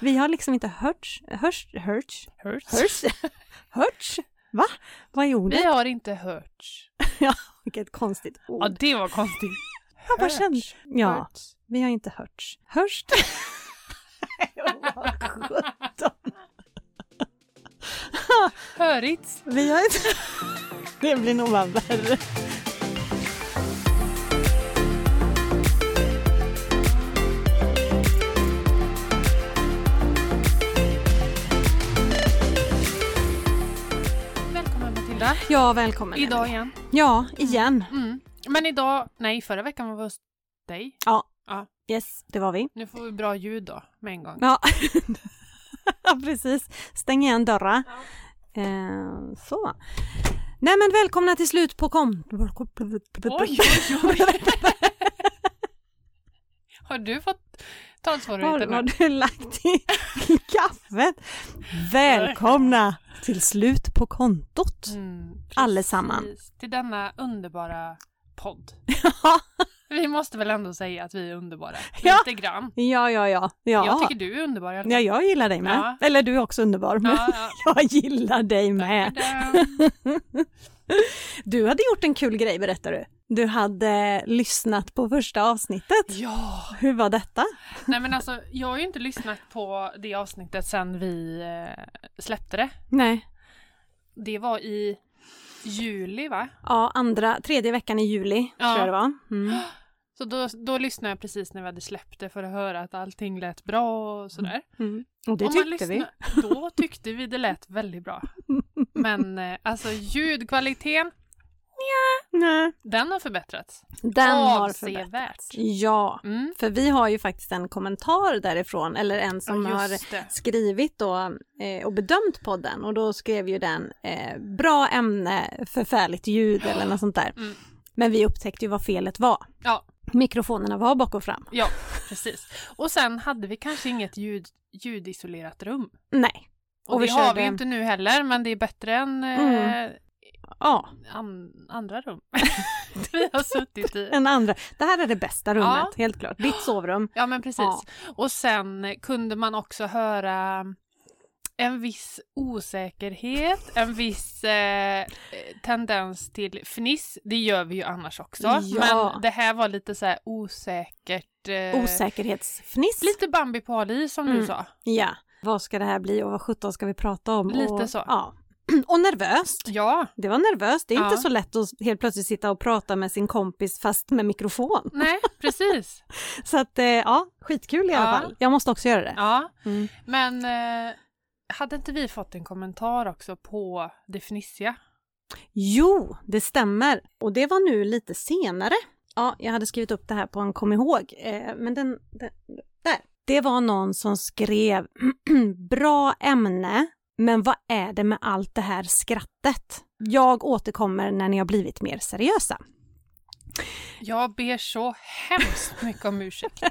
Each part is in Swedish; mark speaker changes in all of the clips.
Speaker 1: Vi har liksom inte hörts, hörts, hörts,
Speaker 2: Hurts.
Speaker 1: hörts, hörts. Va? Vad är ordet?
Speaker 2: Vi har inte hörts.
Speaker 1: Vilket konstigt ord.
Speaker 2: Ja, det var konstigt.
Speaker 1: Jag bara kände-
Speaker 2: Hörts.
Speaker 1: Ja.
Speaker 2: Hörts.
Speaker 1: Vi har inte hörts. Hörst?
Speaker 2: Hörits.
Speaker 1: Vi har inte... Det blir nog bara värre.
Speaker 2: Välkommen Matilda.
Speaker 1: Ja, välkommen. Emily.
Speaker 2: Idag igen.
Speaker 1: Ja, igen.
Speaker 2: Mm. Men idag, nej förra veckan var vi hos dig.
Speaker 1: Yes, det var vi.
Speaker 2: Nu får vi bra ljud då, med en gång.
Speaker 1: Ja, precis. Stäng igen dörrar. Eh, så. Nej men välkomna till slut på kom...
Speaker 2: Oj, oj, oj. Har du fått
Speaker 1: Var
Speaker 2: talsvårigheter
Speaker 1: har
Speaker 2: nu?
Speaker 1: du lagt i i kaffet? Välkomna till slut på kontot.
Speaker 2: Mm, precis.
Speaker 1: Allesamman.
Speaker 2: Till denna underbara podd.
Speaker 1: Ja.
Speaker 2: Vi måste väl ändå säga att vi är underbara.
Speaker 1: Ja.
Speaker 2: Lite grann.
Speaker 1: Ja, ja, ja. ja.
Speaker 2: Jag tycker du är underbar. i alla fall.
Speaker 1: Ja, jag gillar dig med.
Speaker 2: Ja.
Speaker 1: Eller du är också underbar. Men
Speaker 2: Ja,
Speaker 1: jag gillar dig
Speaker 2: ja.
Speaker 1: med.
Speaker 2: Tadam.
Speaker 1: Du hade gjort en kul grej berättar du. Du hade lyssnat på första avsnittet.
Speaker 2: ja.
Speaker 1: Hur var detta?
Speaker 2: Nej men alltså, jag har ju inte lyssnat på det avsnittet sen vi eh, släppte det.
Speaker 1: Nej.
Speaker 2: Det var i juli va?
Speaker 1: Ja, andra, tredje veckan i juli
Speaker 2: Ja.
Speaker 1: tror jag det var. Mm.
Speaker 2: Så då, då lyssnade jag precis när vi hade släppt det för att höra att allting lät bra och sådär.
Speaker 1: Mm. Och det
Speaker 2: Om man
Speaker 1: tyckte vi.
Speaker 2: lyssnar- Då tyckte vi det lät väldigt bra. Men eh, alltså ljudkvaliteten,
Speaker 1: Nej.
Speaker 2: den har förbättrats.
Speaker 1: Den har förbättrats.
Speaker 2: Avsevärt.
Speaker 1: Ja,
Speaker 2: Mm.
Speaker 1: för vi har ju faktiskt en kommentar därifrån eller en som
Speaker 2: Ja,
Speaker 1: har
Speaker 2: just det.
Speaker 1: skrivit då eh, och bedömt podden och då skrev ju den eh, bra ämne, förfärligt ljud eller något sånt där.
Speaker 2: Mm.
Speaker 1: Men vi upptäckte ju vad felet var.
Speaker 2: Ja,
Speaker 1: Mikrofonerna var bak och fram.
Speaker 2: ja, precis. Och sen hade vi kanske inget ljud, ljudisolerat rum.
Speaker 1: Nej.
Speaker 2: Och,
Speaker 1: Och
Speaker 2: det
Speaker 1: vi
Speaker 2: har
Speaker 1: körde- Mm.
Speaker 2: vi ju inte nu heller, men det är bättre än eh,
Speaker 1: Ja,
Speaker 2: an, andra rum. vi har suttit i.
Speaker 1: en andra. Det här är det bästa rummet,
Speaker 2: Ja.
Speaker 1: helt klart. Ditt sovrum.
Speaker 2: Ja, men precis.
Speaker 1: Ja.
Speaker 2: Och sen kunde man också höra en viss osäkerhet, en viss eh, tendens till fniss. Det gör vi ju annars också.
Speaker 1: Ja.
Speaker 2: Men det här var lite så här osäkert. Eh,
Speaker 1: Osäkerhetsfniss.
Speaker 2: Lite Bambi på hal is som
Speaker 1: Mm.
Speaker 2: du sa.
Speaker 1: Ja. Vad ska det här bli och vad sjutton ska vi prata om?
Speaker 2: Lite
Speaker 1: och,
Speaker 2: så.
Speaker 1: Ja. Och nervöst.
Speaker 2: Ja,
Speaker 1: Det var nervöst. Det är
Speaker 2: Ja.
Speaker 1: inte så lätt att helt plötsligt sitta och prata med sin kompis fast med mikrofon.
Speaker 2: nej, precis.
Speaker 1: Så att eh, ja, skitkul i alla
Speaker 2: Ja.
Speaker 1: fall. Jag måste också göra det.
Speaker 2: Ja,
Speaker 1: Mm.
Speaker 2: men eh, hade inte vi fått en kommentar också på det fnissiga?
Speaker 1: Jo, det stämmer. Och det var nu lite senare. Ja, jag hade skrivit upp det här på en kom ihåg, eh, men den, den... Där! Det var någon som skrev bra ämne, men vad är det med allt det här skrattet? Jag återkommer när ni har blivit mer seriösa.
Speaker 2: Jag ber så hemskt mycket om ursäkt.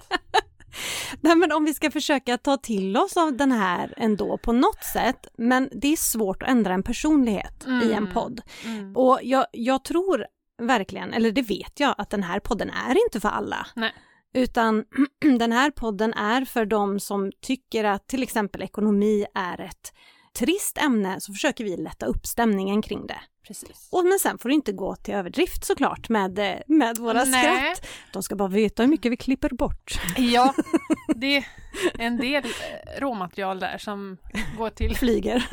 Speaker 1: Nej, men om vi ska försöka ta till oss av den här ändå på något sätt, men det är svårt att ändra en personlighet i en
Speaker 2: Mm.
Speaker 1: podd.
Speaker 2: Mm.
Speaker 1: Och jag, jag tror verkligen, eller det vet jag, att den här podden är inte för alla.
Speaker 2: Nej.
Speaker 1: Utan den här podden är för de som tycker att till exempel ekonomi är ett trist ämne så försöker vi lätta upp stämningen kring det.
Speaker 2: Precis.
Speaker 1: Och, men sen får det inte gå till överdrift såklart med, eh, med våra
Speaker 2: Nej.
Speaker 1: skratt. De ska bara veta hur mycket vi klipper bort.
Speaker 2: Ja, det är en del eh, råmaterial där som går till...
Speaker 1: Flyger.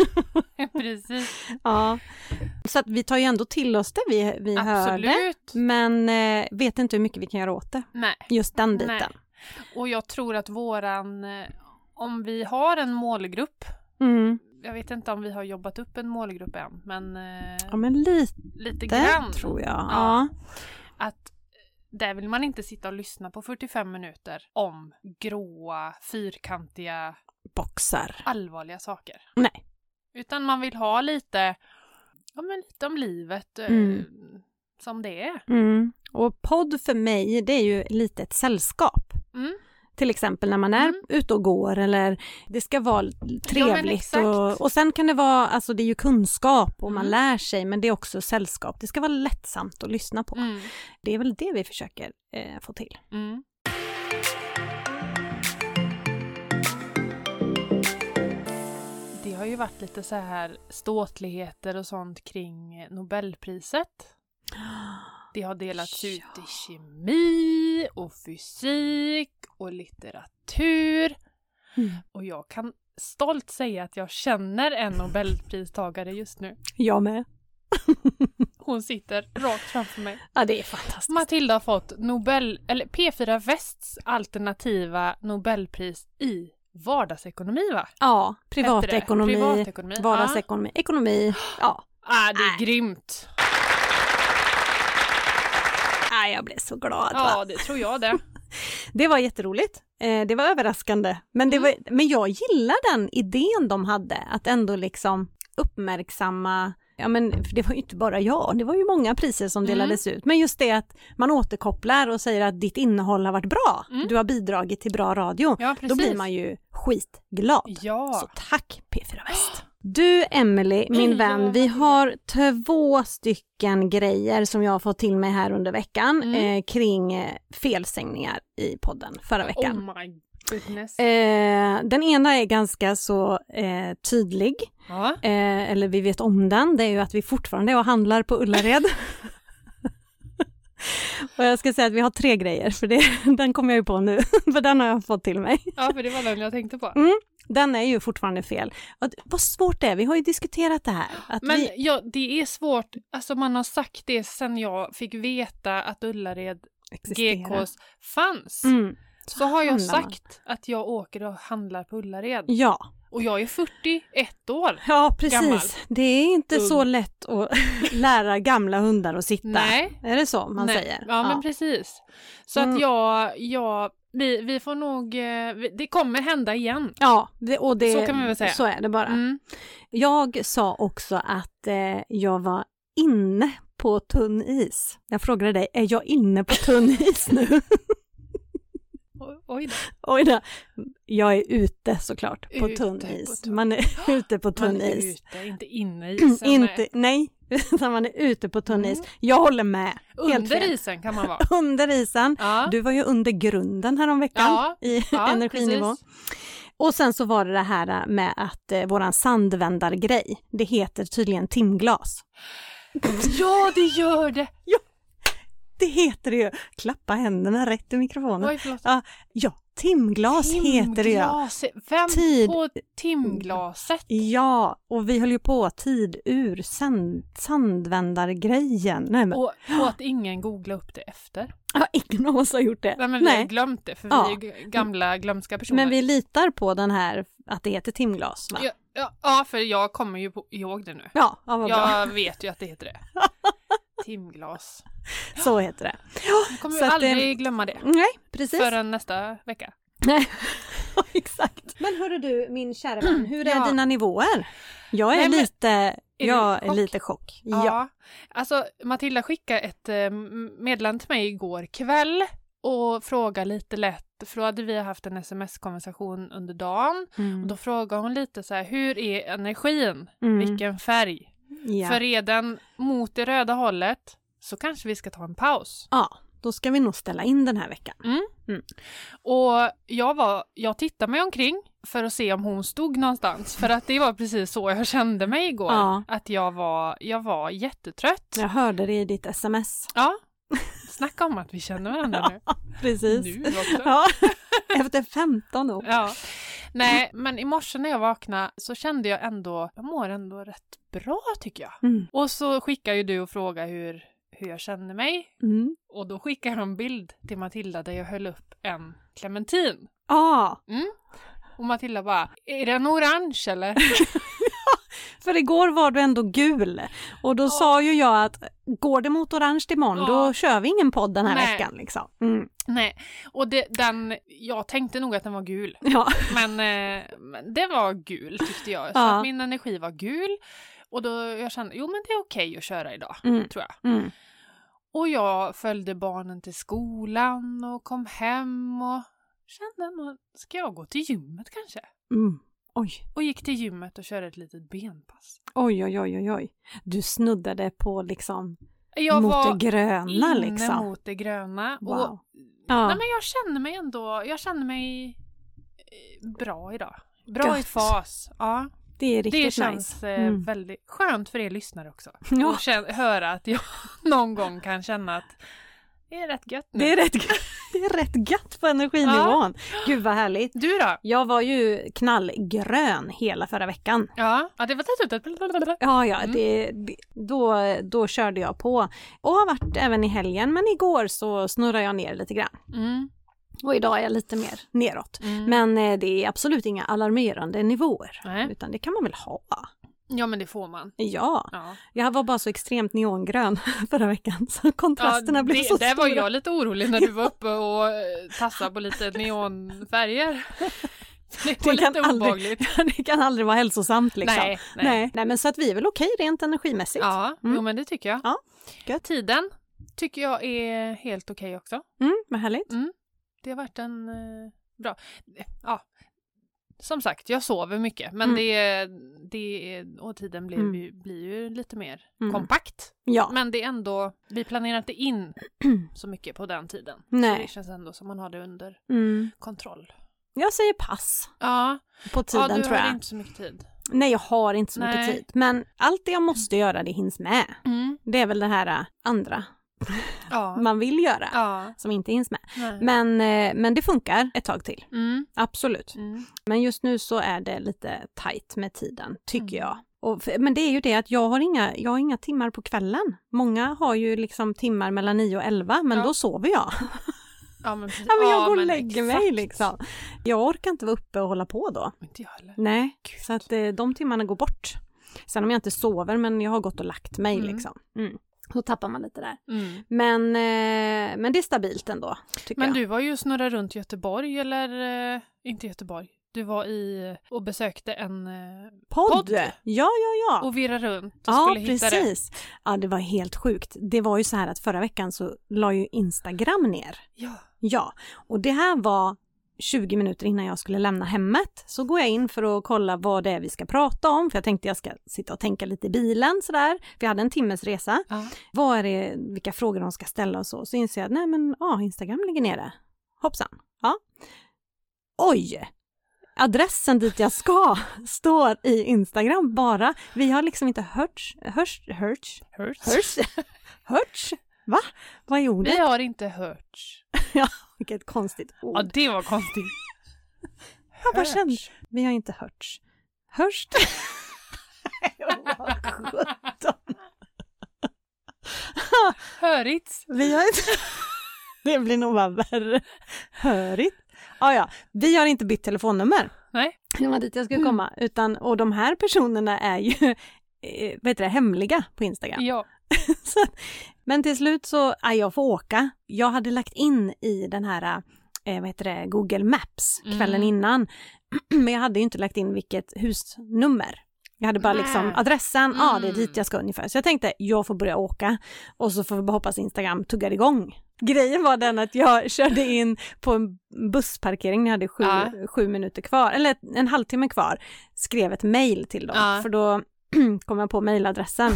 Speaker 2: Precis,
Speaker 1: ja. Så att vi tar ju ändå till oss det vi, vi hörde.
Speaker 2: absolut.
Speaker 1: Men eh, vet inte hur mycket vi kan göra åt det.
Speaker 2: Nej,
Speaker 1: Just den biten.
Speaker 2: nej. Och jag tror att våran... eh, Om vi har en målgrupp,
Speaker 1: Mm.
Speaker 2: jag vet inte om vi har jobbat upp en målgrupp än, men, eh,
Speaker 1: Ja men lite
Speaker 2: lite grann.
Speaker 1: tror jag. Ja.
Speaker 2: Ja. Att eh, där vill man inte sitta och lyssna på 45 minuter om gråa, fyrkantiga
Speaker 1: Boxar.
Speaker 2: allvarliga saker.
Speaker 1: Nej.
Speaker 2: Utan man vill ha lite, ja men lite om livet eh,
Speaker 1: Mm.
Speaker 2: som det är.
Speaker 1: Mm. Och podd för mig det är ju lite ett sällskap.
Speaker 2: Mm.
Speaker 1: Till exempel när man är
Speaker 2: Mm. ute
Speaker 1: ute och går eller det ska vara trevligt.
Speaker 2: exakt.
Speaker 1: och, och sen kan det vara, alltså det är ju kunskap och man
Speaker 2: Mm.
Speaker 1: lär sig men det är också sällskap. Det ska vara lättsamt att lyssna på.
Speaker 2: Mm.
Speaker 1: Det är väl det vi försöker eh, få till.
Speaker 2: Mm. ju varit lite så här ståtligheter och sånt kring Nobelpriset. Det har delats ut i kemi och fysik och litteratur.
Speaker 1: Mm.
Speaker 2: Och jag kan stolt säga att jag känner en Nobelpristagare just nu.
Speaker 1: Jag med.
Speaker 2: Hon sitter rakt framför mig.
Speaker 1: Ja, det är fantastiskt.
Speaker 2: Matilda har fått Nobel, eller P4 Västs alternativa Nobelpris i vardagsekonomi va?
Speaker 1: Ja,
Speaker 2: Hette det?
Speaker 1: privatekonomi,
Speaker 2: Privatekonomi. Ja.
Speaker 1: vardagsekonomi, ekonomi. Ja,
Speaker 2: Ah, det är
Speaker 1: Nej.
Speaker 2: grymt.
Speaker 1: ah, jag blev så glad. va?
Speaker 2: Ja, det tror jag det.
Speaker 1: Det var jätteroligt. Eh, det var överraskande. Men,
Speaker 2: Mm.
Speaker 1: det var, men jag gillar den idén de hade, att ändå liksom uppmärksamma Ja men för det var ju inte bara jag, det var ju många priser som
Speaker 2: Mm.
Speaker 1: delades ut. Men just det att man återkopplar och säger att ditt innehåll har varit bra,
Speaker 2: Mm.
Speaker 1: du har bidragit till bra radio.
Speaker 2: Ja, precis.
Speaker 1: Då blir man ju skitglad. Så
Speaker 2: Ja.
Speaker 1: tack P4 Väst. Du Emily, min
Speaker 2: Ja,
Speaker 1: vän, vi
Speaker 2: Matilda.
Speaker 1: har två stycken grejer som jag har fått till mig här under veckan
Speaker 2: Mm.
Speaker 1: eh, kring eh, felsägningar i podden förra veckan.
Speaker 2: Oh my goodness.
Speaker 1: Eh, den ena är ganska så eh, tydlig,
Speaker 2: ja.
Speaker 1: eh, eller vi vet om den, det är ju att vi fortfarande är och handlar på Ullared. och jag ska säga att vi har tre grejer, för det, den kom jag ju på nu, för den har jag fått till mig.
Speaker 2: ja, för det var den jag tänkte på.
Speaker 1: Den är ju fortfarande fel. Och det- Vad svårt det är, vi har ju diskuterat det här. Att
Speaker 2: Men
Speaker 1: vi,
Speaker 2: ja, det är svårt. Alltså man har sagt det sen jag fick veta att Ullared
Speaker 1: existerar.
Speaker 2: GKs fanns.
Speaker 1: Mm.
Speaker 2: Så har jag
Speaker 1: handlar man.
Speaker 2: sagt att jag åker och handlar på Ullared.
Speaker 1: Ja,
Speaker 2: Och jag är 41 år.
Speaker 1: ja precis.
Speaker 2: Gammal.
Speaker 1: Det är inte
Speaker 2: Ung.
Speaker 1: så lätt att lära gamla hundar att sitta.
Speaker 2: Nej.
Speaker 1: Är det så man
Speaker 2: Nej.
Speaker 1: säger?
Speaker 2: Ja, men precis. Så
Speaker 1: Mm.
Speaker 2: att jag, jag vi, vi får nog, eh, vi- det kommer hända igen.
Speaker 1: Ja, det, och det,
Speaker 2: Så kan man väl säga.
Speaker 1: Så är det bara.
Speaker 2: Mm.
Speaker 1: Jag sa också att eh, jag var inne på tunn is. Jag frågade dig, är jag inne på tunn is nu?
Speaker 2: O- Oj då.
Speaker 1: Oj då. Jag är ute såklart, på
Speaker 2: Ute
Speaker 1: tunn
Speaker 2: på
Speaker 1: is.
Speaker 2: tunn-
Speaker 1: Man är ute på tunn
Speaker 2: Man är
Speaker 1: is.
Speaker 2: ute, inte inne i isen. Mm.
Speaker 1: Inte, nej, utan man är ute på tunn is. Jag håller med.
Speaker 2: nej. Under
Speaker 1: fel.
Speaker 2: isen kan man vara.
Speaker 1: Under isen.
Speaker 2: Ja.
Speaker 1: Du var ju under grunden häromveckan
Speaker 2: Ja,
Speaker 1: i
Speaker 2: ja,
Speaker 1: energinivå.
Speaker 2: precis.
Speaker 1: Och sen så var det det här med att eh, våran sandvändargrej, det heter tydligen timglas.
Speaker 2: Ja, det gör det!
Speaker 1: Det heter det ju! Klappa händerna rätt i mikrofonen.
Speaker 2: Oj, förlåt.
Speaker 1: Ja, timglas heter det ju.
Speaker 2: Timglas. Vem
Speaker 1: Tid-
Speaker 2: på timglaset?
Speaker 1: Ja, och vi höll ju på tid ur sand, sandvändargrejen. Nej, men,
Speaker 2: Och, och att ingen googlar upp det efter.
Speaker 1: ja, ingen av oss har gjort det.
Speaker 2: Nej, men vi har
Speaker 1: Nej,
Speaker 2: glömt det, för
Speaker 1: Ja.
Speaker 2: vi är ju gamla glömska personer.
Speaker 1: men vi litar på den här, att det heter timglas, va?
Speaker 2: Ja, ja, ja, för jag kommer ju på, ihåg det nu.
Speaker 1: Ja, ja vad bra.
Speaker 2: Jag vet ju att det heter det. Timglas.
Speaker 1: Så heter det.
Speaker 2: Jag kommer
Speaker 1: Så
Speaker 2: ju
Speaker 1: att,
Speaker 2: aldrig glömma det.
Speaker 1: Nej, precis.
Speaker 2: Förrän nästa vecka.
Speaker 1: Nej. Exakt. Men hörru du, min kära vän, hur är
Speaker 2: Ja.
Speaker 1: dina nivåer? Jag är
Speaker 2: Nej, men-
Speaker 1: lite,
Speaker 2: du
Speaker 1: jag
Speaker 2: i
Speaker 1: är
Speaker 2: chock?
Speaker 1: lite chock. Ja.
Speaker 2: Alltså, Matilda skickade ett eh, m- meddelande till mig igår kväll och frågade lite lätt, för då hade vi haft en sms-konversation under dagen. Och
Speaker 1: Mm.
Speaker 2: då frågade hon lite så här, hur är energin?
Speaker 1: Mm.
Speaker 2: Vilken färg?
Speaker 1: ja.
Speaker 2: För är den mot det röda hållet så kanske vi ska ta en paus.
Speaker 1: ja, då ska vi nog ställa in den här veckan.
Speaker 2: Och jag, var, jag tittade mig omkring för att se om hon stod någonstans. För att det var precis så jag kände mig igår.
Speaker 1: Ja.
Speaker 2: Att jag var, jag var jättetrött.
Speaker 1: Jag hörde det i ditt sms.
Speaker 2: Ja. Snacka om att vi känner varandra nu.
Speaker 1: Precis.
Speaker 2: Nu också.
Speaker 1: Ja. Efter 15 år.
Speaker 2: Ja. Nej, men i morse när jag vaknade så kände jag ändå, jag mår ändå rätt bra tycker jag.
Speaker 1: Mm.
Speaker 2: Och så skickar ju du och frågar hur, hur jag känner mig.
Speaker 1: Mm.
Speaker 2: Och då skickar jag en bild till Matilda där jag höll upp en clementin.
Speaker 1: Ja,
Speaker 2: Och Matilda bara, är den orange eller?
Speaker 1: för igår var du ändå gul och då sa ju jag att går det mot orange imorgon
Speaker 2: Ja.
Speaker 1: då kör vi ingen podd den här
Speaker 2: Nej.
Speaker 1: veckan liksom. Mm.
Speaker 2: Nej, och det, den, jag tänkte nog att den var gul.
Speaker 1: Ja.
Speaker 2: Men, eh, men det var gul tyckte jag. Så
Speaker 1: Ja.
Speaker 2: att min energi var gul. Och då jag kände, jo men det är okej att köra idag,
Speaker 1: Mm.
Speaker 2: tror jag.
Speaker 1: Mm.
Speaker 2: Och jag följde barnen till skolan och kom hem och kände, nog, ska jag gå till gymmet kanske?
Speaker 1: Mm. Oj.
Speaker 2: Och gick till gymmet och körde ett litet benpass.
Speaker 1: Oj, oj, oj, oj, oj. Du snuddade på liksom
Speaker 2: Jag
Speaker 1: mot
Speaker 2: var
Speaker 1: det gröna
Speaker 2: inne
Speaker 1: liksom.
Speaker 2: mot det gröna.
Speaker 1: Wow.
Speaker 2: Och,
Speaker 1: Ja.
Speaker 2: Nej men jag känner mig ändå, jag känner mig eh, bra idag. Bra i
Speaker 1: Gött.
Speaker 2: fas. Ja.
Speaker 1: Det är riktigt
Speaker 2: Det känns
Speaker 1: nice.
Speaker 2: eh,
Speaker 1: Mm.
Speaker 2: väldigt skönt för er lyssnare också.
Speaker 1: Ja.
Speaker 2: Och kän- höra att jag någon gång kan känna att det är rätt gött nu.
Speaker 1: Det är rätt, g- det är rätt gött på energinivån. Gud vad härligt.
Speaker 2: Du då?
Speaker 1: Jag var ju knallgrön hela förra veckan.
Speaker 2: Ja, ja det var tätt
Speaker 1: Ja, ja,
Speaker 2: Mm.
Speaker 1: det, det, då, då körde jag på. Och har varit även i helgen, men igår så snurrade jag ner lite grann.
Speaker 2: mm,
Speaker 1: Och idag är jag lite mer neråt.
Speaker 2: mm.
Speaker 1: Men eh, det är absolut inga alarmerande nivåer.
Speaker 2: Nej.
Speaker 1: Utan det kan man väl ha?
Speaker 2: Ja men det får man.
Speaker 1: Ja,
Speaker 2: Ja.
Speaker 1: jag var bara så extremt neongrön förra veckan så kontrasterna blev
Speaker 2: det,
Speaker 1: så
Speaker 2: där
Speaker 1: stora.
Speaker 2: var jag lite orolig när du var uppe och eh, tassade på lite neonfärger. Det var
Speaker 1: Det kan
Speaker 2: lite
Speaker 1: aldrig-
Speaker 2: obehagligt.
Speaker 1: det kan aldrig vara hälsosamt liksom.
Speaker 2: Nej, nej.
Speaker 1: Nej. Nej, men så att vi är väl okej rent energimässigt.
Speaker 2: Ja,
Speaker 1: Mm.
Speaker 2: jo men det tycker jag.
Speaker 1: Ja, gött.
Speaker 2: Tiden tycker jag är helt okej också.
Speaker 1: Mm, vad härligt.
Speaker 2: Det har varit en eh, bra... Ja. Som sagt, jag sover mycket men
Speaker 1: Mm.
Speaker 2: det, det är- och tiden blir,
Speaker 1: Mm.
Speaker 2: ju, blir ju lite mer
Speaker 1: Mm.
Speaker 2: kompakt.
Speaker 1: Ja,
Speaker 2: Men det är ändå, vi planerar inte in så mycket på den tiden. Så
Speaker 1: Nej.
Speaker 2: det känns ändå som man har det under
Speaker 1: mm.
Speaker 2: kontroll.
Speaker 1: jag säger pass
Speaker 2: Ja,
Speaker 1: på tiden
Speaker 2: ja du
Speaker 1: tror jag.
Speaker 2: har inte så mycket tid.
Speaker 1: Nej, jag har inte så
Speaker 2: Nej.
Speaker 1: mycket tid. Men allt det jag måste göra, det hinns med. Det är väl det här äh, andra
Speaker 2: Ja.
Speaker 1: Mm. man vill göra
Speaker 2: ja. Mm.
Speaker 1: som inte hinns med.
Speaker 2: Nej.
Speaker 1: Men, eh, men det funkar ett tag till,
Speaker 2: Mm.
Speaker 1: absolut.
Speaker 2: Mm.
Speaker 1: Men just nu så är det lite tajt med tiden, tycker
Speaker 2: Mm.
Speaker 1: jag. Och, för- men det är ju det att jag har, inga, jag har inga timmar på kvällen. Många har ju liksom timmar mellan 9 och 11, men
Speaker 2: Ja.
Speaker 1: då sover jag.
Speaker 2: Ja, men, precis.
Speaker 1: Ja, men jag går och
Speaker 2: men
Speaker 1: lägger mig
Speaker 2: exakt.
Speaker 1: liksom. Jag orkar inte vara uppe och hålla på då.
Speaker 2: Inte jag heller.
Speaker 1: Nej,
Speaker 2: Gud.
Speaker 1: så att eh, de timmarna går bort. Sen om jag inte sover, men jag har gått och lagt mig
Speaker 2: Mm.
Speaker 1: liksom. Mm. Då tappar man lite där.
Speaker 2: Mm.
Speaker 1: Men, eh, men det är stabilt ändå, tycker
Speaker 2: Men
Speaker 1: jag.
Speaker 2: du var ju snurra runt Göteborg, eller eh, inte Göteborg. Du var i eh, och besökte en eh,
Speaker 1: Podd!
Speaker 2: podd.
Speaker 1: Ja, ja, ja.
Speaker 2: och virrade runt och
Speaker 1: ja,
Speaker 2: skulle hitta det.
Speaker 1: precis. Ja, det var helt sjukt. Det var ju så här att förra veckan så la ju Instagram ner.
Speaker 2: Ja,
Speaker 1: Ja, och det här var 20 minuter innan jag skulle lämna hemmet. Så går jag in för att kolla vad det är vi ska prata om, för jag tänkte jag ska sitta och tänka lite i bilen sådär. Vi hade en timmes resa.
Speaker 2: ja.
Speaker 1: vad är det, vilka frågor de ska ställa och så. Så inser jag att nej men ja, Instagram ligger nere. Hoppsan. Ja. Oj! Adressen dit jag ska står i Instagram bara. Vi har liksom inte hörts, hörts, hörts,
Speaker 2: Hurts.
Speaker 1: hörts, hörts. Va? Vad är ordet?
Speaker 2: Vi har inte hört.
Speaker 1: Vilket konstigt
Speaker 2: Ja,
Speaker 1: ord.
Speaker 2: det var konstigt.
Speaker 1: Jag bara
Speaker 2: hörts.
Speaker 1: kände, vi har inte hörts. Hörst? Vad sjutton.
Speaker 2: Hörits.
Speaker 1: Vi har inte... Det blir nog bara värre. Hörigt. Ja, ja, vi har inte bytt telefonnummer.
Speaker 2: Nej.
Speaker 1: Det var dit jag skulle komma. Utan, och de här personerna är ju eh, vad heter det, hemliga på Instagram.
Speaker 2: Ja.
Speaker 1: Så, att- men till slut så, ja, jag får åka. Jag hade lagt in i den här, eh, vad heter det, Google Maps kvällen
Speaker 2: Mm.
Speaker 1: innan. Men jag hade ju inte lagt in vilket husnummer. Jag hade bara
Speaker 2: Nej.
Speaker 1: liksom adressen, ja det är
Speaker 2: Mm.
Speaker 1: dit jag ska ungefär. Så jag tänkte, jag får börja åka och så får vi bara hoppas Instagram tuggar igång. Grejen var den att jag körde in på en bussparkering när jag hade sju,
Speaker 2: Ja.
Speaker 1: sju minuter kvar, eller en halvtimme kvar, skrev ett mejl till dem.
Speaker 2: Ja.
Speaker 1: För då kom jag på mejladressen.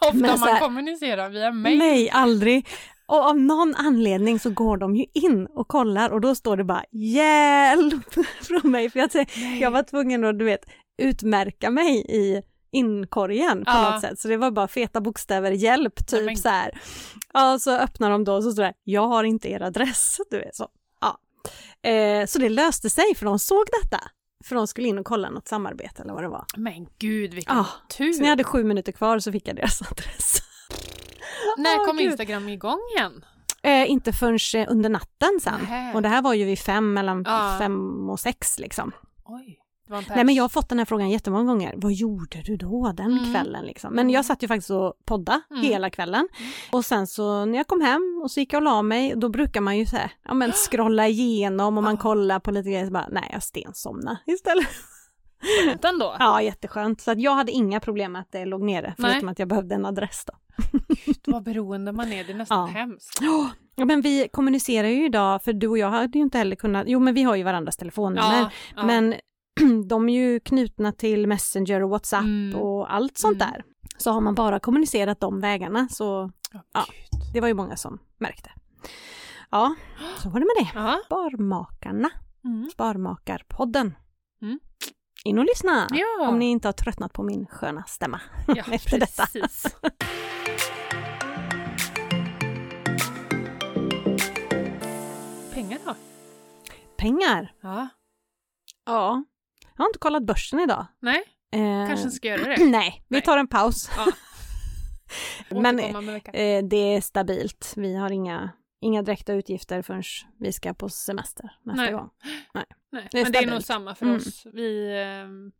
Speaker 2: Ofta
Speaker 1: Men
Speaker 2: man
Speaker 1: så här-
Speaker 2: kommunicerar via mail.
Speaker 1: Nej, aldrig. Och av någon anledning så går de ju in och kollar och då står det bara hjälp från mig. För jag,
Speaker 2: Nej.
Speaker 1: jag var tvungen att du vet, utmärka mig i inkorgen på
Speaker 2: Ja.
Speaker 1: något sätt. Så det var bara feta bokstäver, hjälp, typ
Speaker 2: Nej, men-
Speaker 1: så här. Ja, så öppnar de då och så står det, jag har inte er adress. Du vet, så. Ja. Eh, så det löste sig för de såg detta. För de skulle in och kolla något samarbete eller vad det var.
Speaker 2: Men gud vilken
Speaker 1: Ah.
Speaker 2: tur.
Speaker 1: Så när jag hade sju minuter kvar så fick jag deras adress.
Speaker 2: När
Speaker 1: Åh,
Speaker 2: kom
Speaker 1: Ah, gud.
Speaker 2: Instagram igång igen?
Speaker 1: Eh, inte förrän eh, under natten sen.
Speaker 2: Nähä.
Speaker 1: Och det här var ju vid fem, mellan
Speaker 2: Ja.
Speaker 1: fem och sex liksom.
Speaker 2: Oj. Det var en
Speaker 1: Nej men
Speaker 2: pärs.
Speaker 1: jag har fått den här frågan jättemånga gånger. Vad gjorde du då den
Speaker 2: Mm.
Speaker 1: kvällen liksom? Men jag satt ju faktiskt och podda
Speaker 2: Mm.
Speaker 1: hela kvällen.
Speaker 2: Mm.
Speaker 1: Och sen så när jag kom hem och så gick jag och la mig, då brukar man ju så här, ja men scrolla igenom och man
Speaker 2: Ja.
Speaker 1: kollar på lite grejer så bara, nej jag stensomna istället.
Speaker 2: Skönt ändå.
Speaker 1: Ja jätteskönt. Så att jag hade inga problem med att det låg nere,
Speaker 2: Nej.
Speaker 1: förutom att jag behövde en adress då.
Speaker 2: Vad beroende man är, det är nästan
Speaker 1: Ja.
Speaker 2: hemskt.
Speaker 1: Ja men vi kommunicerar ju idag, för du och jag hade ju inte heller kunnat, jo men vi har ju varandras telefonnummer.
Speaker 2: ja.
Speaker 1: Men de är ju knutna till Messenger och WhatsApp
Speaker 2: Mm.
Speaker 1: och allt sånt
Speaker 2: Mm.
Speaker 1: där. Så har man bara kommunicerat de vägarna så
Speaker 2: Ja.
Speaker 1: Ja.
Speaker 2: gud.
Speaker 1: det var ju många som märkte. Ja, så var det med det.
Speaker 2: Ja.
Speaker 1: Sparmakarna,
Speaker 2: Mm.
Speaker 1: Sparmakarpodden.
Speaker 2: Mm.
Speaker 1: in och lyssna!
Speaker 2: Ja,
Speaker 1: Om ni inte har tröttnat på min sköna stämma.
Speaker 2: ja
Speaker 1: efter detta.
Speaker 2: precis. Pengar då?
Speaker 1: Pengar!
Speaker 2: Ja.
Speaker 1: Ja. Jag har inte kollat börsen idag.
Speaker 2: Nej,
Speaker 1: Eh,
Speaker 2: kanske inte ska göra det.
Speaker 1: Nej, vi
Speaker 2: Nej.
Speaker 1: tar en paus.
Speaker 2: Ja.
Speaker 1: Men
Speaker 2: Återkomma om en vecka.
Speaker 1: eh, det är stabilt. Vi har inga, inga direkta utgifter förrän vi ska på semester nästa
Speaker 2: Nej.
Speaker 1: gång.
Speaker 2: Nej,
Speaker 1: det är
Speaker 2: men det är nog
Speaker 1: stabilt.
Speaker 2: samma för
Speaker 1: Mm.
Speaker 2: oss. Vi, ehm,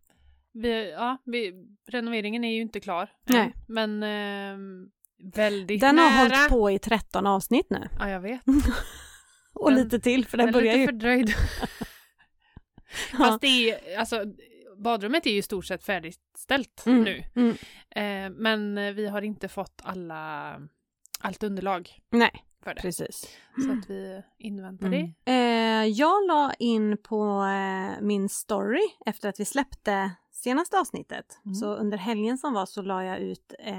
Speaker 2: vi, ja, vi, renoveringen är ju inte klar än,
Speaker 1: Nej.
Speaker 2: men ehm, väldigt
Speaker 1: Den
Speaker 2: nära.
Speaker 1: har hållit på i 13 avsnitt nu.
Speaker 2: Ja, jag vet.
Speaker 1: Och
Speaker 2: Den-
Speaker 1: lite till, för den,
Speaker 2: Den är
Speaker 1: börjar
Speaker 2: lite
Speaker 1: ju...
Speaker 2: fördröjd.
Speaker 1: Ja.
Speaker 2: Fast det är, alltså, badrummet är ju i stort sett färdigställt
Speaker 1: Mm,
Speaker 2: nu.
Speaker 1: mm.
Speaker 2: Eh, men vi har inte fått alla, allt underlag
Speaker 1: Nej,
Speaker 2: för det.
Speaker 1: precis.
Speaker 2: Så att vi inväntar det.
Speaker 1: Eh, jag la in på eh, min story efter att vi släppte senaste avsnittet.
Speaker 2: Mm.
Speaker 1: Så under helgen som var så la jag ut, eh,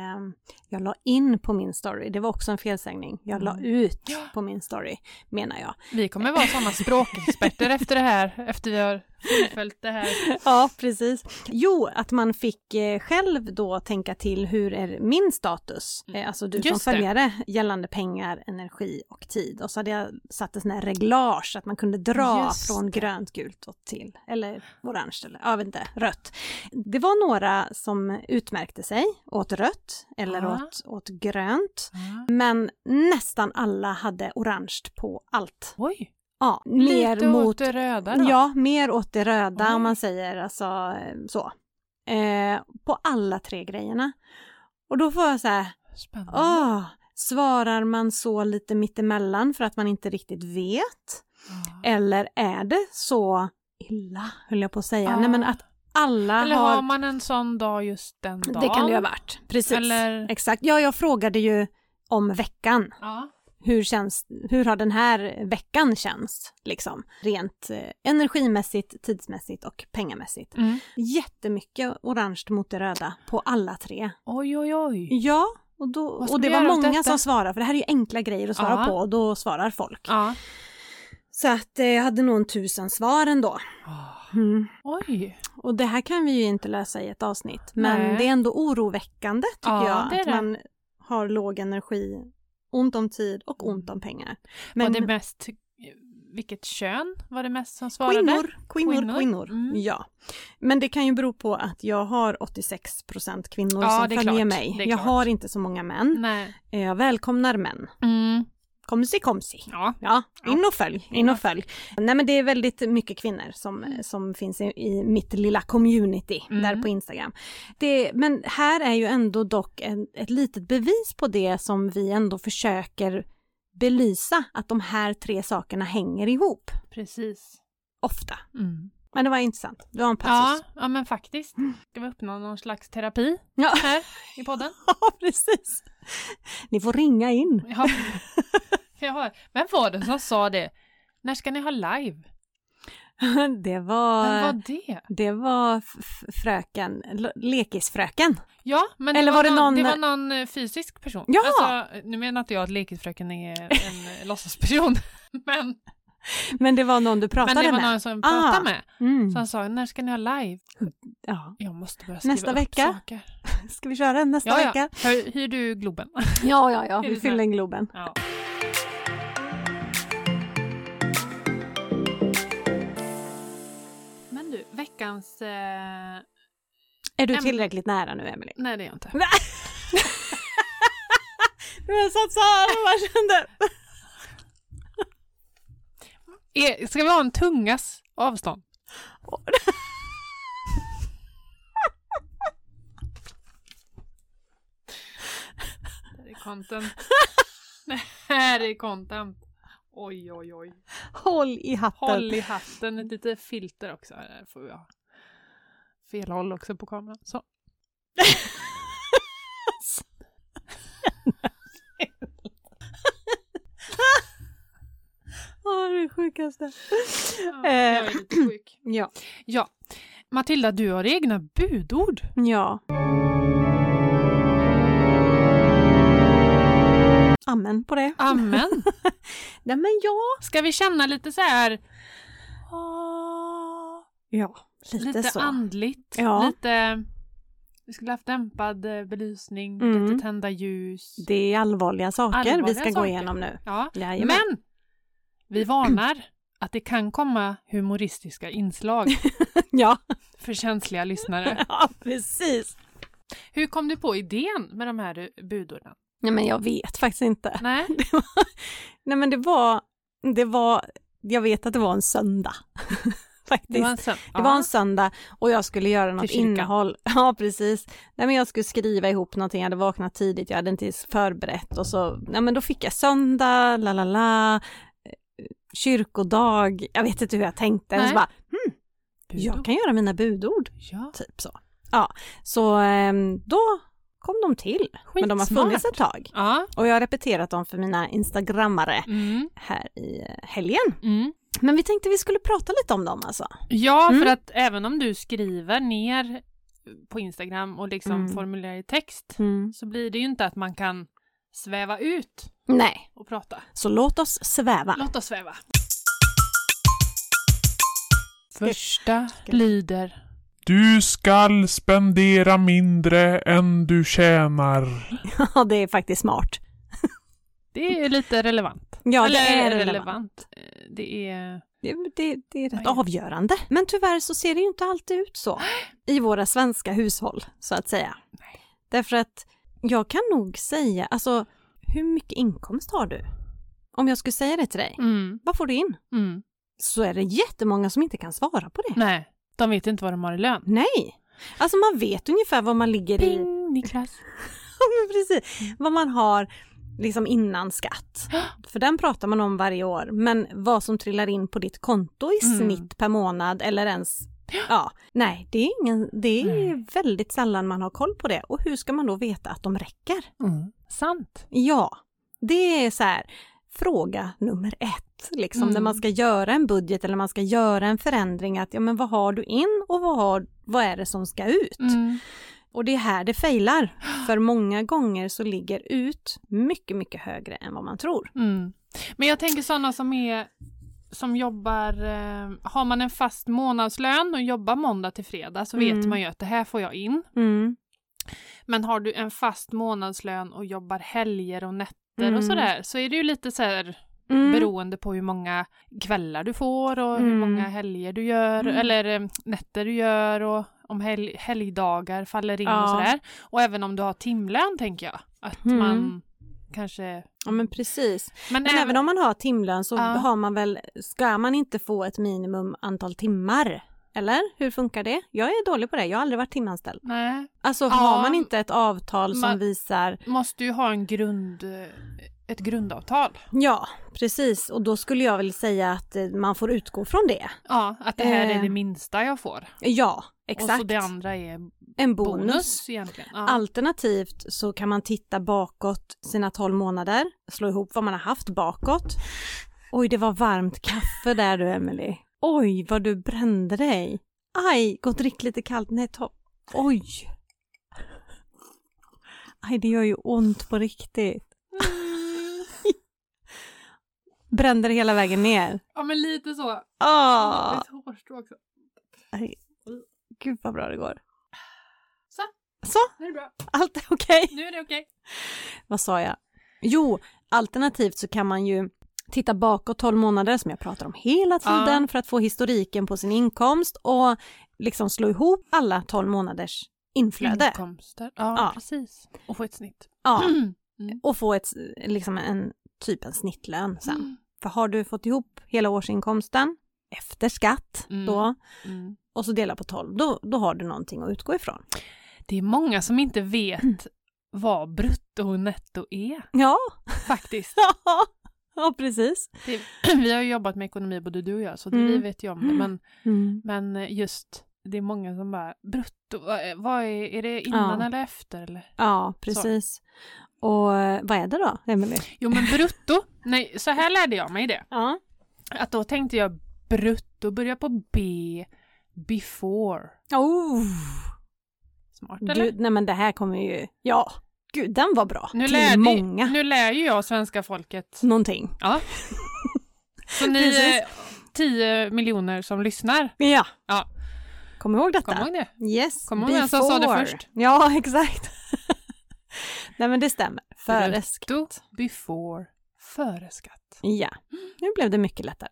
Speaker 1: jag la in på min story. Det var också en felsägning. Jag la
Speaker 2: Mm.
Speaker 1: ut
Speaker 2: Ja.
Speaker 1: på min story menar jag.
Speaker 2: Vi kommer vara sådana språkexperter efter det här, efter vi har fullföljt det här.
Speaker 1: Ja, precis. Jo, att man fick eh, själv då tänka till hur är min status, eh, alltså du som
Speaker 2: Mm. Just det.
Speaker 1: följare, gällande pengar, energi och tid. Och så hade jag satt en sån här reglage så att man kunde dra
Speaker 2: Just
Speaker 1: från grönt, gult och till, eller orange eller, ja, jag vet inte, rött. Det var några som utmärkte sig åt rött eller
Speaker 2: Ja.
Speaker 1: åt, åt grönt. Men nästan alla hade orange på allt.
Speaker 2: Oj,
Speaker 1: Ja, mer
Speaker 2: lite
Speaker 1: mot
Speaker 2: åt det röda då.
Speaker 1: Ja, mer åt det röda
Speaker 2: Oj.
Speaker 1: om man säger alltså eh, så. Eh, på alla tre grejerna. Och då får jag så här,
Speaker 2: Spännande.
Speaker 1: åh, svarar man så lite mittemellan för att man inte riktigt vet?
Speaker 2: Ja.
Speaker 1: Eller är det så illa, höll jag på att säga,
Speaker 2: Ja.
Speaker 1: nej men att alla
Speaker 2: Eller
Speaker 1: har...
Speaker 2: har man en sån dag just den dagen?
Speaker 1: Det kan det ju ha varit, precis.
Speaker 2: Eller-
Speaker 1: Exakt, ja jag frågade ju om veckan.
Speaker 2: Ja.
Speaker 1: Hur, känns, hur har den här veckan känts? Liksom. Rent eh, energimässigt, tidsmässigt och pengamässigt.
Speaker 2: Mm.
Speaker 1: jättemycket orange mot det röda på alla tre.
Speaker 2: Oj, oj, oj.
Speaker 1: Ja, och, då,
Speaker 2: Vad ska
Speaker 1: och det
Speaker 2: vi
Speaker 1: var
Speaker 2: göra åt
Speaker 1: många
Speaker 2: detta?
Speaker 1: som svarade, för det här är ju enkla grejer att svara
Speaker 2: Ja.
Speaker 1: på och då svarar folk.
Speaker 2: Ja.
Speaker 1: Så att eh, jag hade nog en tusen svar ändå.
Speaker 2: Mm. Oj.
Speaker 1: Och det här kan vi ju inte lösa i ett avsnitt, men
Speaker 2: Nej.
Speaker 1: det är ändå oroväckande tycker
Speaker 2: Ja,
Speaker 1: jag,
Speaker 2: det är
Speaker 1: att
Speaker 2: det.
Speaker 1: man har låg energi, ont om tid och
Speaker 2: Mm.
Speaker 1: ont om pengar. Men
Speaker 2: Var det mest, vilket kön var det mest som svarade?
Speaker 1: kvinnor, kvinnor, kvinnor.
Speaker 2: Kvinnor. Mm.
Speaker 1: Ja. Men det kan ju bero på att jag har 86 procent kvinnor
Speaker 2: Ja,
Speaker 1: som
Speaker 2: det är
Speaker 1: följer
Speaker 2: klart.
Speaker 1: mig.
Speaker 2: Det
Speaker 1: Jag
Speaker 2: är klart.
Speaker 1: har inte så många män.
Speaker 2: Nej.
Speaker 1: Eh, Jag välkomnar män.
Speaker 2: Mm.
Speaker 1: Komsi komsi.
Speaker 2: Ja.
Speaker 1: Ja,
Speaker 2: Ja.
Speaker 1: in och följ, in och följ. Nej men det är väldigt mycket kvinnor som, som finns i, i mitt lilla community
Speaker 2: Mm.
Speaker 1: där på Instagram. Det, men här är ju ändå dock en, ett litet bevis på det som vi ändå försöker belysa, att de här tre sakerna hänger ihop
Speaker 2: Precis.
Speaker 1: ofta.
Speaker 2: Mm.
Speaker 1: Men det var intressant, det var en
Speaker 2: Ja,
Speaker 1: passus.
Speaker 2: ja, men faktiskt.
Speaker 1: Mm.
Speaker 2: Ska vi uppnå någon slags terapi
Speaker 1: Ja.
Speaker 2: här i podden?
Speaker 1: Ja, precis. Ni får ringa in.
Speaker 2: Ja. Jag har. Vem var det som sa det? När ska ni ha live?
Speaker 1: Det var,
Speaker 2: Vem var det?
Speaker 1: det var f- f- fröken, l- lekisfröken.
Speaker 2: Ja, men
Speaker 1: Eller
Speaker 2: det,
Speaker 1: var
Speaker 2: var
Speaker 1: det
Speaker 2: någon,
Speaker 1: någon-
Speaker 2: det var någon eh, fysisk person.
Speaker 1: Ja!
Speaker 2: Alltså, nu menar inte jag att lekisfröken är en eh, låtsasperson, men,
Speaker 1: Men det var någon du pratade
Speaker 2: men det var
Speaker 1: med.
Speaker 2: någon som jag pratade
Speaker 1: Ah.
Speaker 2: med.
Speaker 1: Mm.
Speaker 2: Som sa, när ska ni ha live?
Speaker 1: Ja.
Speaker 2: Jag måste börja skriva
Speaker 1: Nästa
Speaker 2: upp
Speaker 1: vecka?
Speaker 2: saker.
Speaker 1: Ska vi köra den nästa
Speaker 2: Ja, ja.
Speaker 1: vecka?
Speaker 2: Hyr, hyr du Globen?
Speaker 1: Ja, ja, ja.
Speaker 2: Är
Speaker 1: Vi
Speaker 2: det så
Speaker 1: fyller
Speaker 2: här?
Speaker 1: in Globen.
Speaker 2: Ja. Men du, veckans... Eh...
Speaker 1: Är du
Speaker 2: Äm-
Speaker 1: tillräckligt nära nu, Emily?
Speaker 2: Nej, det är jag inte.
Speaker 1: Jag satt så här och bara kände...
Speaker 2: E- Ska vi ha en tungas avstånd? Det här är content. Det här är content. Oj, oj, oj.
Speaker 1: Håll i hatten.
Speaker 2: Håll i hatten, ett litet filter också. Där får vi ha. Fel håll också på kameran. Så.
Speaker 1: Åh, det är det sjukaste.
Speaker 2: Ja, jag är lite sjuk.
Speaker 1: Ja.
Speaker 2: Ja. Matilda, du har egna budord.
Speaker 1: Ja. Amen på det.
Speaker 2: Amen.
Speaker 1: Nej, men ja.
Speaker 2: Ska vi känna lite så här...
Speaker 1: Ja, Lite,
Speaker 2: Lite
Speaker 1: så.
Speaker 2: andligt,
Speaker 1: Ja.
Speaker 2: lite... Vi skulle haft dämpad eh, belysning,
Speaker 1: Mm.
Speaker 2: lite tända ljus.
Speaker 1: Det är allvarliga saker vi
Speaker 2: Allvarliga
Speaker 1: ska gå
Speaker 2: saker.
Speaker 1: igenom nu.
Speaker 2: Ja.
Speaker 1: Jajamän.
Speaker 2: Men! Vi varnar att det kan komma humoristiska inslag
Speaker 1: Ja,
Speaker 2: för känsliga lyssnare.
Speaker 1: ja precis.
Speaker 2: Hur kom du på idén med de här eh, budorden?
Speaker 1: Nej men jag vet faktiskt inte.
Speaker 2: Nej?
Speaker 1: Det var, nej men det var, det var, jag vet att det var en söndag. faktiskt.
Speaker 2: Det var en söm-
Speaker 1: Det var en söndag och jag skulle göra något
Speaker 2: kyrkan.
Speaker 1: innehåll. Ja, precis. Nej, men jag skulle skriva ihop någonting, jag hade vaknat tidigt, jag hade inte ens förberett och så, nej men då fick jag söndag, la la la, eh, kyrkodag, jag vet inte hur jag tänkte,
Speaker 2: Nej.
Speaker 1: så bara,
Speaker 2: Budord.
Speaker 1: jag kan göra mina budord,
Speaker 2: Ja.
Speaker 1: typ så. Ja, så ehm, då kom de till, men de har
Speaker 2: Skitsmart.
Speaker 1: funnits ett tag.
Speaker 2: Ja.
Speaker 1: Och jag har repeterat dem för mina instagrammare
Speaker 2: Mm.
Speaker 1: här i eh, helgen.
Speaker 2: Mm.
Speaker 1: Men vi tänkte vi skulle prata lite om dem alltså.
Speaker 2: Ja,
Speaker 1: Mm.
Speaker 2: för att även om du skriver ner på Instagram och liksom
Speaker 1: Mm.
Speaker 2: formulerar i text så blir det ju inte att man kan sväva ut
Speaker 1: Nej,
Speaker 2: och prata.
Speaker 1: Så låt oss sväva.
Speaker 2: Låt oss sväva. Första lyder
Speaker 3: Du skall spendera mindre än du tjänar.
Speaker 1: Ja, det är faktiskt smart.
Speaker 2: Det är lite relevant.
Speaker 1: Ja, det
Speaker 2: Eller
Speaker 1: är relevant.
Speaker 2: Eh, Det är...
Speaker 1: Det, det, det är rätt
Speaker 2: Oj.
Speaker 1: avgörande. Men tyvärr så ser det ju inte alltid ut så i våra svenska hushåll, så att säga.
Speaker 2: Nej.
Speaker 1: Därför att jag kan nog säga, alltså hur mycket inkomst har du? Om jag skulle säga det till dig,
Speaker 2: Mm,
Speaker 1: vad får du in?
Speaker 2: mm.
Speaker 1: Så är det jättemånga som inte kan svara på det.
Speaker 2: Nej, de vet inte vad de har i lön.
Speaker 1: Nej. Alltså man vet ungefär vad man ligger i.
Speaker 2: Ping, Niklas.
Speaker 1: Ja, men precis. Vad man har liksom innan skatt. För den pratar man om varje år. Men vad som trillar in på ditt konto i
Speaker 2: Mm.
Speaker 1: snitt per månad eller ens Ja, nej det är, ingen, det är väldigt sällan man har koll på det och hur ska man då veta att de räcker?
Speaker 2: Mm. Sant.
Speaker 1: Ja, det är så här fråga nummer ett, liksom
Speaker 2: Mm.
Speaker 1: när man ska göra en budget eller man ska göra en förändring att ja men vad har du in och vad, har, vad är det som ska ut?
Speaker 2: Mm.
Speaker 1: Och det är här det failar. För många gånger så ligger ut mycket, mycket högre än vad man tror.
Speaker 2: Mm. Men jag tänker sådana som är som jobbar, eh, har man en fast månadslön och jobbar måndag till fredag så vet
Speaker 1: Mm.
Speaker 2: man ju att det här får jag in.
Speaker 1: Mm.
Speaker 2: Men har du en fast månadslön och jobbar helger och nätter
Speaker 1: Mm.
Speaker 2: och sådär så är det ju lite så här
Speaker 1: Mm.
Speaker 2: beroende på hur många kvällar du får och hur
Speaker 1: Mm.
Speaker 2: många helger du gör
Speaker 1: Mm.
Speaker 2: eller eh, nätter du gör och om hel- helgdagar faller in
Speaker 1: Ja.
Speaker 2: och sådär. Och även om du har timlön tänker jag att
Speaker 1: Mm.
Speaker 2: man kanske...
Speaker 1: Ja men precis.
Speaker 2: Men,
Speaker 1: Men även om man har timlön så
Speaker 2: Ja.
Speaker 1: har man väl, ska man inte få ett minimum antal timmar? Eller hur funkar det? Jag är dålig på det, jag har aldrig varit timanställd.
Speaker 2: Nej,
Speaker 1: Alltså
Speaker 2: Ja,
Speaker 1: har man inte ett avtal som
Speaker 2: man-
Speaker 1: visar,
Speaker 2: måste ju ha en grund, eh, ett grundavtal.
Speaker 1: ja precis, och då skulle jag väl säga att eh, man får utgå från det.
Speaker 2: Ja, att det här
Speaker 1: Eh,
Speaker 2: är det minsta jag får.
Speaker 1: Ja,
Speaker 2: Och
Speaker 1: exakt.
Speaker 2: så det andra är bonus,
Speaker 1: en bonus.
Speaker 2: egentligen. Ja.
Speaker 1: Alternativt så kan man titta bakåt sina 12 månader, slå ihop vad man har haft bakåt. Oj, det var varmt kaffe där du, Emily. Oj, vad du brände dig. Aj, gå och drick lite kallt. Nej, ta... Oj! Aj, det gör ju ont på riktigt. Brände dig hela vägen ner.
Speaker 2: ja, men lite så.
Speaker 1: Åh!
Speaker 2: Ett hårstrå också.
Speaker 1: Gud vad bra det går.
Speaker 2: Så.
Speaker 1: Så,
Speaker 2: Nu är det bra.
Speaker 1: allt är okej.
Speaker 2: Nu är det okej.
Speaker 1: vad sa jag? Jo, alternativt så kan man ju titta bakåt 12 månader som jag pratar om hela tiden för att få historiken på sin inkomst och liksom slå ihop alla 12 månaders inflöde
Speaker 2: Inkomster. Ja,
Speaker 1: Ja.
Speaker 2: precis. Och få ett snitt.
Speaker 1: ja,
Speaker 2: Mm.
Speaker 1: och få ett, liksom en typ en snittlön sen.
Speaker 2: Mm.
Speaker 1: För har du fått ihop hela årsinkomsten efter skatt
Speaker 2: Mm.
Speaker 1: då
Speaker 2: Mm.
Speaker 1: och så dela på 12, då, då har du någonting att utgå ifrån.
Speaker 2: Det är många som inte vet vad brutto och netto är,
Speaker 1: Ja,
Speaker 2: faktiskt.
Speaker 1: ja precis.
Speaker 2: Det, vi har ju jobbat med ekonomi, både du och jag, så
Speaker 1: Mm.
Speaker 2: vi vet ju om det. Men
Speaker 1: Mm.
Speaker 2: Men eh, just, det är många som bara, brutto, vad är- vad är, är det innan
Speaker 1: Ja.
Speaker 2: eller efter? Eller?
Speaker 1: Ja, precis. Och eh, vad är det då, Emelie?
Speaker 2: Jo men brutto, nej så här lärde jag mig det.
Speaker 1: Ja.
Speaker 2: Att då tänkte jag brutto, börja på B, before.
Speaker 1: Oh,
Speaker 2: Smart eller?
Speaker 1: du, nej men det här kommer ju, ja, gud den var bra.
Speaker 2: nu,
Speaker 1: Till
Speaker 2: lär,
Speaker 1: många
Speaker 2: nu lär ju jag svenska folket.
Speaker 1: någonting.
Speaker 2: Ja. Så ni
Speaker 1: Precis.
Speaker 2: eh, 10 miljoner som lyssnar,
Speaker 1: Ja.
Speaker 2: Ja.
Speaker 1: Kom ihåg detta.
Speaker 2: Kom ihåg det.
Speaker 1: Yes,
Speaker 2: Kom ihåg vem som sa det först.
Speaker 1: Ja, exakt. Nej, men det stämmer. Före
Speaker 2: Brutto.
Speaker 1: skatt.
Speaker 2: Before, före skatt.
Speaker 1: Ja, nu blev det mycket lättare.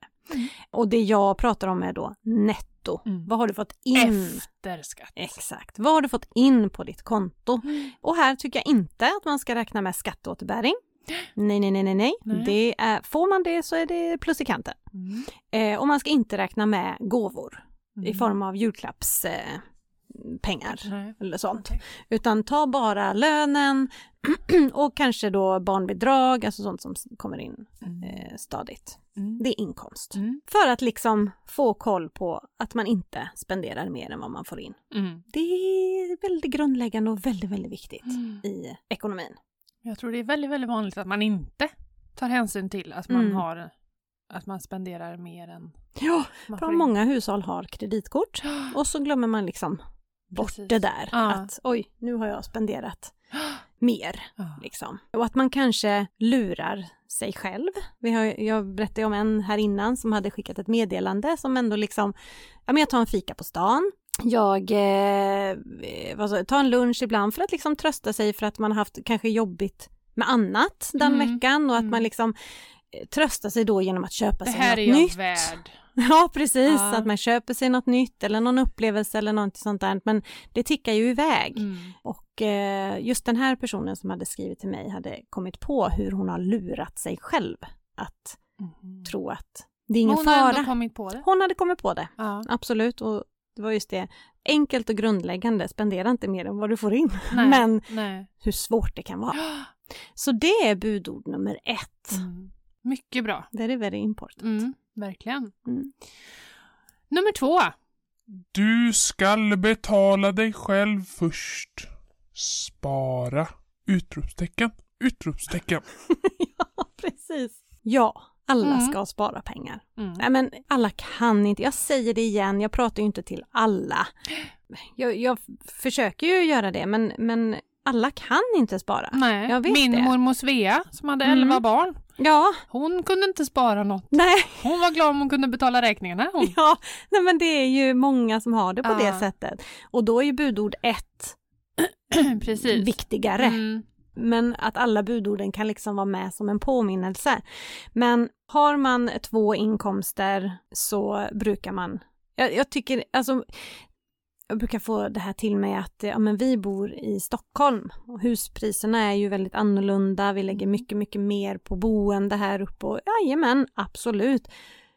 Speaker 1: Och det jag pratar om är då netto.
Speaker 2: Mm.
Speaker 1: Vad har du fått in?
Speaker 2: Efter skatt.
Speaker 1: Exakt. Vad har du fått in på ditt konto? Och här tycker jag inte att man ska räkna med skatteåterbäring. Nej, nej, nej, nej, nej.
Speaker 2: Nej.
Speaker 1: Det är, får man det så är det plus i kanten.
Speaker 2: Mm.
Speaker 1: Eh, och man ska inte räkna med gåvor i
Speaker 2: Mm.
Speaker 1: form av julklappspengar. Eh, pengar
Speaker 2: Nej.
Speaker 1: eller sånt. Utan ta bara lönen och kanske då barnbidrag, alltså sånt som kommer in
Speaker 2: Mm.
Speaker 1: eh, stadigt.
Speaker 2: Mm.
Speaker 1: Det är inkomst.
Speaker 2: Mm.
Speaker 1: För att liksom få koll på att man inte spenderar mer än vad man får in.
Speaker 2: Mm.
Speaker 1: Det är väldigt grundläggande och väldigt, väldigt viktigt
Speaker 2: Mm.
Speaker 1: i ekonomin.
Speaker 2: Jag tror det är väldigt, väldigt vanligt att man inte tar hänsyn till att man
Speaker 1: Mm.
Speaker 2: har att man spenderar mer än
Speaker 1: Ja, bra
Speaker 2: man får in.
Speaker 1: många hushåll har kreditkort och så glömmer man liksom bort
Speaker 2: Precis.
Speaker 1: det där.
Speaker 2: Ja.
Speaker 1: Att oj, nu har jag spenderat mer.
Speaker 2: Ja.
Speaker 1: Liksom. Och att man kanske lurar sig själv. Vi har, jag berättade ju om en här innan som hade skickat ett meddelande som ändå liksom, ja men jag tar en fika på stan, jag eh, vad sa jag, tar en lunch ibland för att liksom trösta sig för att man har haft kanske jobbigt med annat den
Speaker 2: Mm.
Speaker 1: veckan och att
Speaker 2: Mm.
Speaker 1: man liksom eh, tröstar sig då genom att köpa
Speaker 2: Det
Speaker 1: sig
Speaker 2: här
Speaker 1: något
Speaker 2: är jag
Speaker 1: nytt.
Speaker 2: värd.
Speaker 1: Ja, precis.
Speaker 2: Ja.
Speaker 1: Att man köper sig något nytt eller någon upplevelse eller något sånt där. Men det tickar ju iväg.
Speaker 2: Mm.
Speaker 1: Och eh, just den här personen som hade skrivit till mig hade kommit på hur hon har lurat sig själv att
Speaker 2: Mm.
Speaker 1: tro att det är ingen
Speaker 2: Hon har ändå
Speaker 1: fara.
Speaker 2: kommit på det.
Speaker 1: Hon hade kommit på det,
Speaker 2: Ja.
Speaker 1: absolut. Och det var just det, enkelt och grundläggande, spendera inte mer än vad du får in.
Speaker 2: Nej.
Speaker 1: Men
Speaker 2: Nej.
Speaker 1: hur svårt det kan vara. Så det är budord nummer ett.
Speaker 2: Mm. Mycket bra.
Speaker 1: Very, very important.
Speaker 2: Mm. Verkligen.
Speaker 1: Mm.
Speaker 2: Nummer två.
Speaker 3: Du skall betala dig själv först. Spara! Utropstecken. Utropstecken.
Speaker 1: ja, precis. Ja, alla
Speaker 2: Mm.
Speaker 1: ska spara pengar.
Speaker 2: Mm.
Speaker 1: Nej men alla kan inte, jag säger det igen, jag pratar ju inte till alla. Jag, jag f- försöker ju göra det men, men alla kan inte spara.
Speaker 2: Nej.
Speaker 1: jag vet
Speaker 2: Min
Speaker 1: det.
Speaker 2: mormor Svea som hade
Speaker 1: Mm.
Speaker 2: 11 barn.
Speaker 1: Ja,
Speaker 2: Hon kunde inte spara något.
Speaker 1: nej,
Speaker 2: Hon var glad om hon kunde betala räkningarna. Hon.
Speaker 1: ja, nej men det är ju många som har det på det
Speaker 2: Ja.
Speaker 1: sättet. Och då är ju budord ett Mm,
Speaker 2: Precis.
Speaker 1: viktigare.
Speaker 2: Mm.
Speaker 1: Men att alla budorden kan liksom vara med som en påminnelse. Men har man två inkomster så brukar man, jag, jag tycker, alltså jag brukar få det här till mig att eh, ja, men vi bor i Stockholm och huspriserna är ju väldigt annorlunda. Vi lägger mycket, mycket mer på boende här uppe och jajamän, absolut.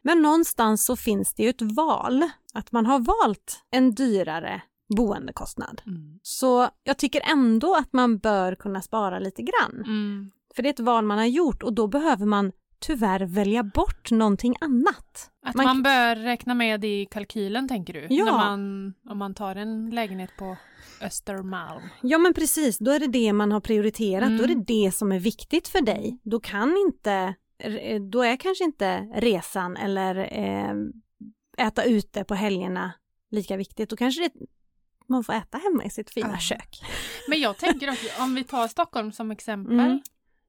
Speaker 1: Men någonstans så finns det ju ett val, att man har valt en dyrare boendekostnad.
Speaker 2: Mm.
Speaker 1: Så jag tycker ändå att man bör kunna spara lite grann.
Speaker 2: Mm.
Speaker 1: För det är ett val man har gjort och då behöver man tyvärr välja bort någonting annat.
Speaker 2: Att
Speaker 1: Man-
Speaker 2: man, bör räkna med det i kalkylen tänker du?
Speaker 1: Ja.
Speaker 2: När man, om man tar en lägenhet på Östermalm.
Speaker 1: Ja men precis, då är det det man har prioriterat,
Speaker 2: Mm.
Speaker 1: då är det det som är viktigt för dig. Då kan inte, eh, då är kanske inte resan eller eh, äta ute på helgerna lika viktigt. Då kanske det, man får äta hemma i sitt fina
Speaker 2: Ja.
Speaker 1: kök.
Speaker 2: Men jag tänker också, om vi tar Stockholm som exempel.
Speaker 1: Mm.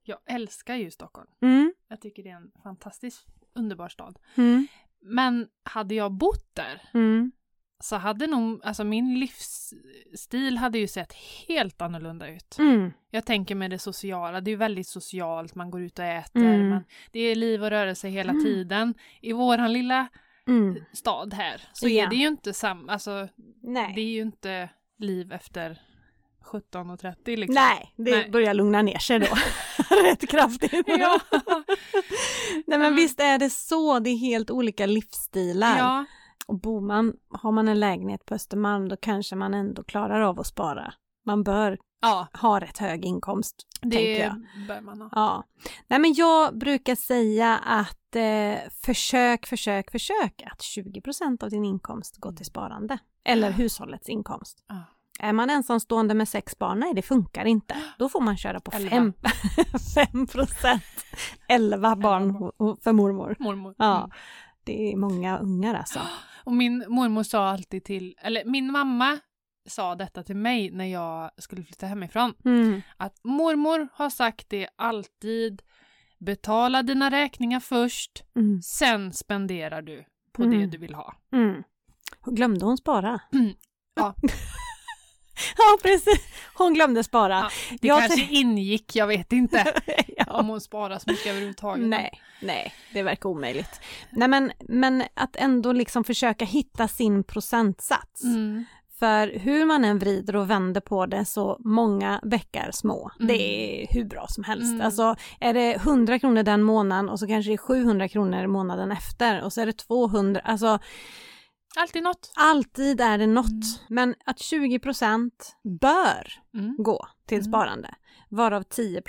Speaker 2: Jag älskar ju Stockholm.
Speaker 1: Mm.
Speaker 2: Jag tycker det är en fantastisk, underbar stad.
Speaker 1: Mm.
Speaker 2: Men hade jag bott där
Speaker 1: Mm.
Speaker 2: så hade nog, alltså min livsstil hade ju sett helt annorlunda ut.
Speaker 1: Mm.
Speaker 2: Jag tänker med det sociala, det är ju väldigt socialt, man går ut och äter,
Speaker 1: Mm.
Speaker 2: man, det är liv och rörelse hela
Speaker 1: Mm.
Speaker 2: tiden. I våran lilla
Speaker 1: Mm.
Speaker 2: stad här så
Speaker 1: Ja.
Speaker 2: är det ju inte samma, alltså
Speaker 1: Nej.
Speaker 2: det är ju inte liv efter 17.30 liksom.
Speaker 1: Nej, det
Speaker 2: Nej.
Speaker 1: börjar lugna ner sig då. Rätt kraftigt.
Speaker 2: Ja,
Speaker 1: Nej men visst är det så, det är helt olika livsstilar.
Speaker 2: Mm. ja.
Speaker 1: Och bor man, har man en lägenhet på Östermalm då kanske man ändå klarar av att spara. Man bör
Speaker 2: ja
Speaker 1: ha rätt hög inkomst, tänker
Speaker 2: det
Speaker 1: jag.
Speaker 2: bör man ha.
Speaker 1: Ja. Nej men jag brukar säga att eh, försök, försök, försök att 20% av din inkomst går till sparande. Eller hushållets inkomst.
Speaker 2: Ja.
Speaker 1: Är man ensamstående med sex barn, nej det funkar inte. Då får man köra på
Speaker 2: Elva.
Speaker 1: fem, fem procent. Elva barn ho- ho- för mormor.
Speaker 2: Mormor.
Speaker 1: Ja,
Speaker 2: Mm.
Speaker 1: det är många ungar alltså.
Speaker 2: Och min mormor sa alltid till, eller min mamma sa detta till mig när jag skulle flytta hemifrån.
Speaker 1: Mm.
Speaker 2: Att mormor har sagt det alltid. Betala dina räkningar först,
Speaker 1: Mm.
Speaker 2: sen spenderar du på
Speaker 1: Mm.
Speaker 2: det du vill ha.
Speaker 1: Mm. Glömde hon spara?
Speaker 2: Ja.
Speaker 1: ja, precis. Hon glömde spara.
Speaker 2: Ja, Det
Speaker 1: Jag
Speaker 2: kanske
Speaker 1: tänk-
Speaker 2: ingick, jag vet inte.
Speaker 1: Ja.
Speaker 2: Om hon sparar så mycket överhuvudtaget.
Speaker 1: Nej, nej, det verkar omöjligt. Nej, men, men att ändå liksom försöka hitta sin procentsats.
Speaker 2: Mm.
Speaker 1: För hur man än vrider och vänder på det så många bäckar små.
Speaker 2: Mm.
Speaker 1: Det är hur bra som helst.
Speaker 2: Mm.
Speaker 1: Alltså är det 100 kronor den månaden och så kanske det är 700 kronor månaden efter och så är det 200. Alltså
Speaker 2: Alltid något.
Speaker 1: alltid är det något.
Speaker 2: Mm.
Speaker 1: Men att 20 bör
Speaker 2: Mm.
Speaker 1: gå till
Speaker 2: Mm.
Speaker 1: sparande. Varav 10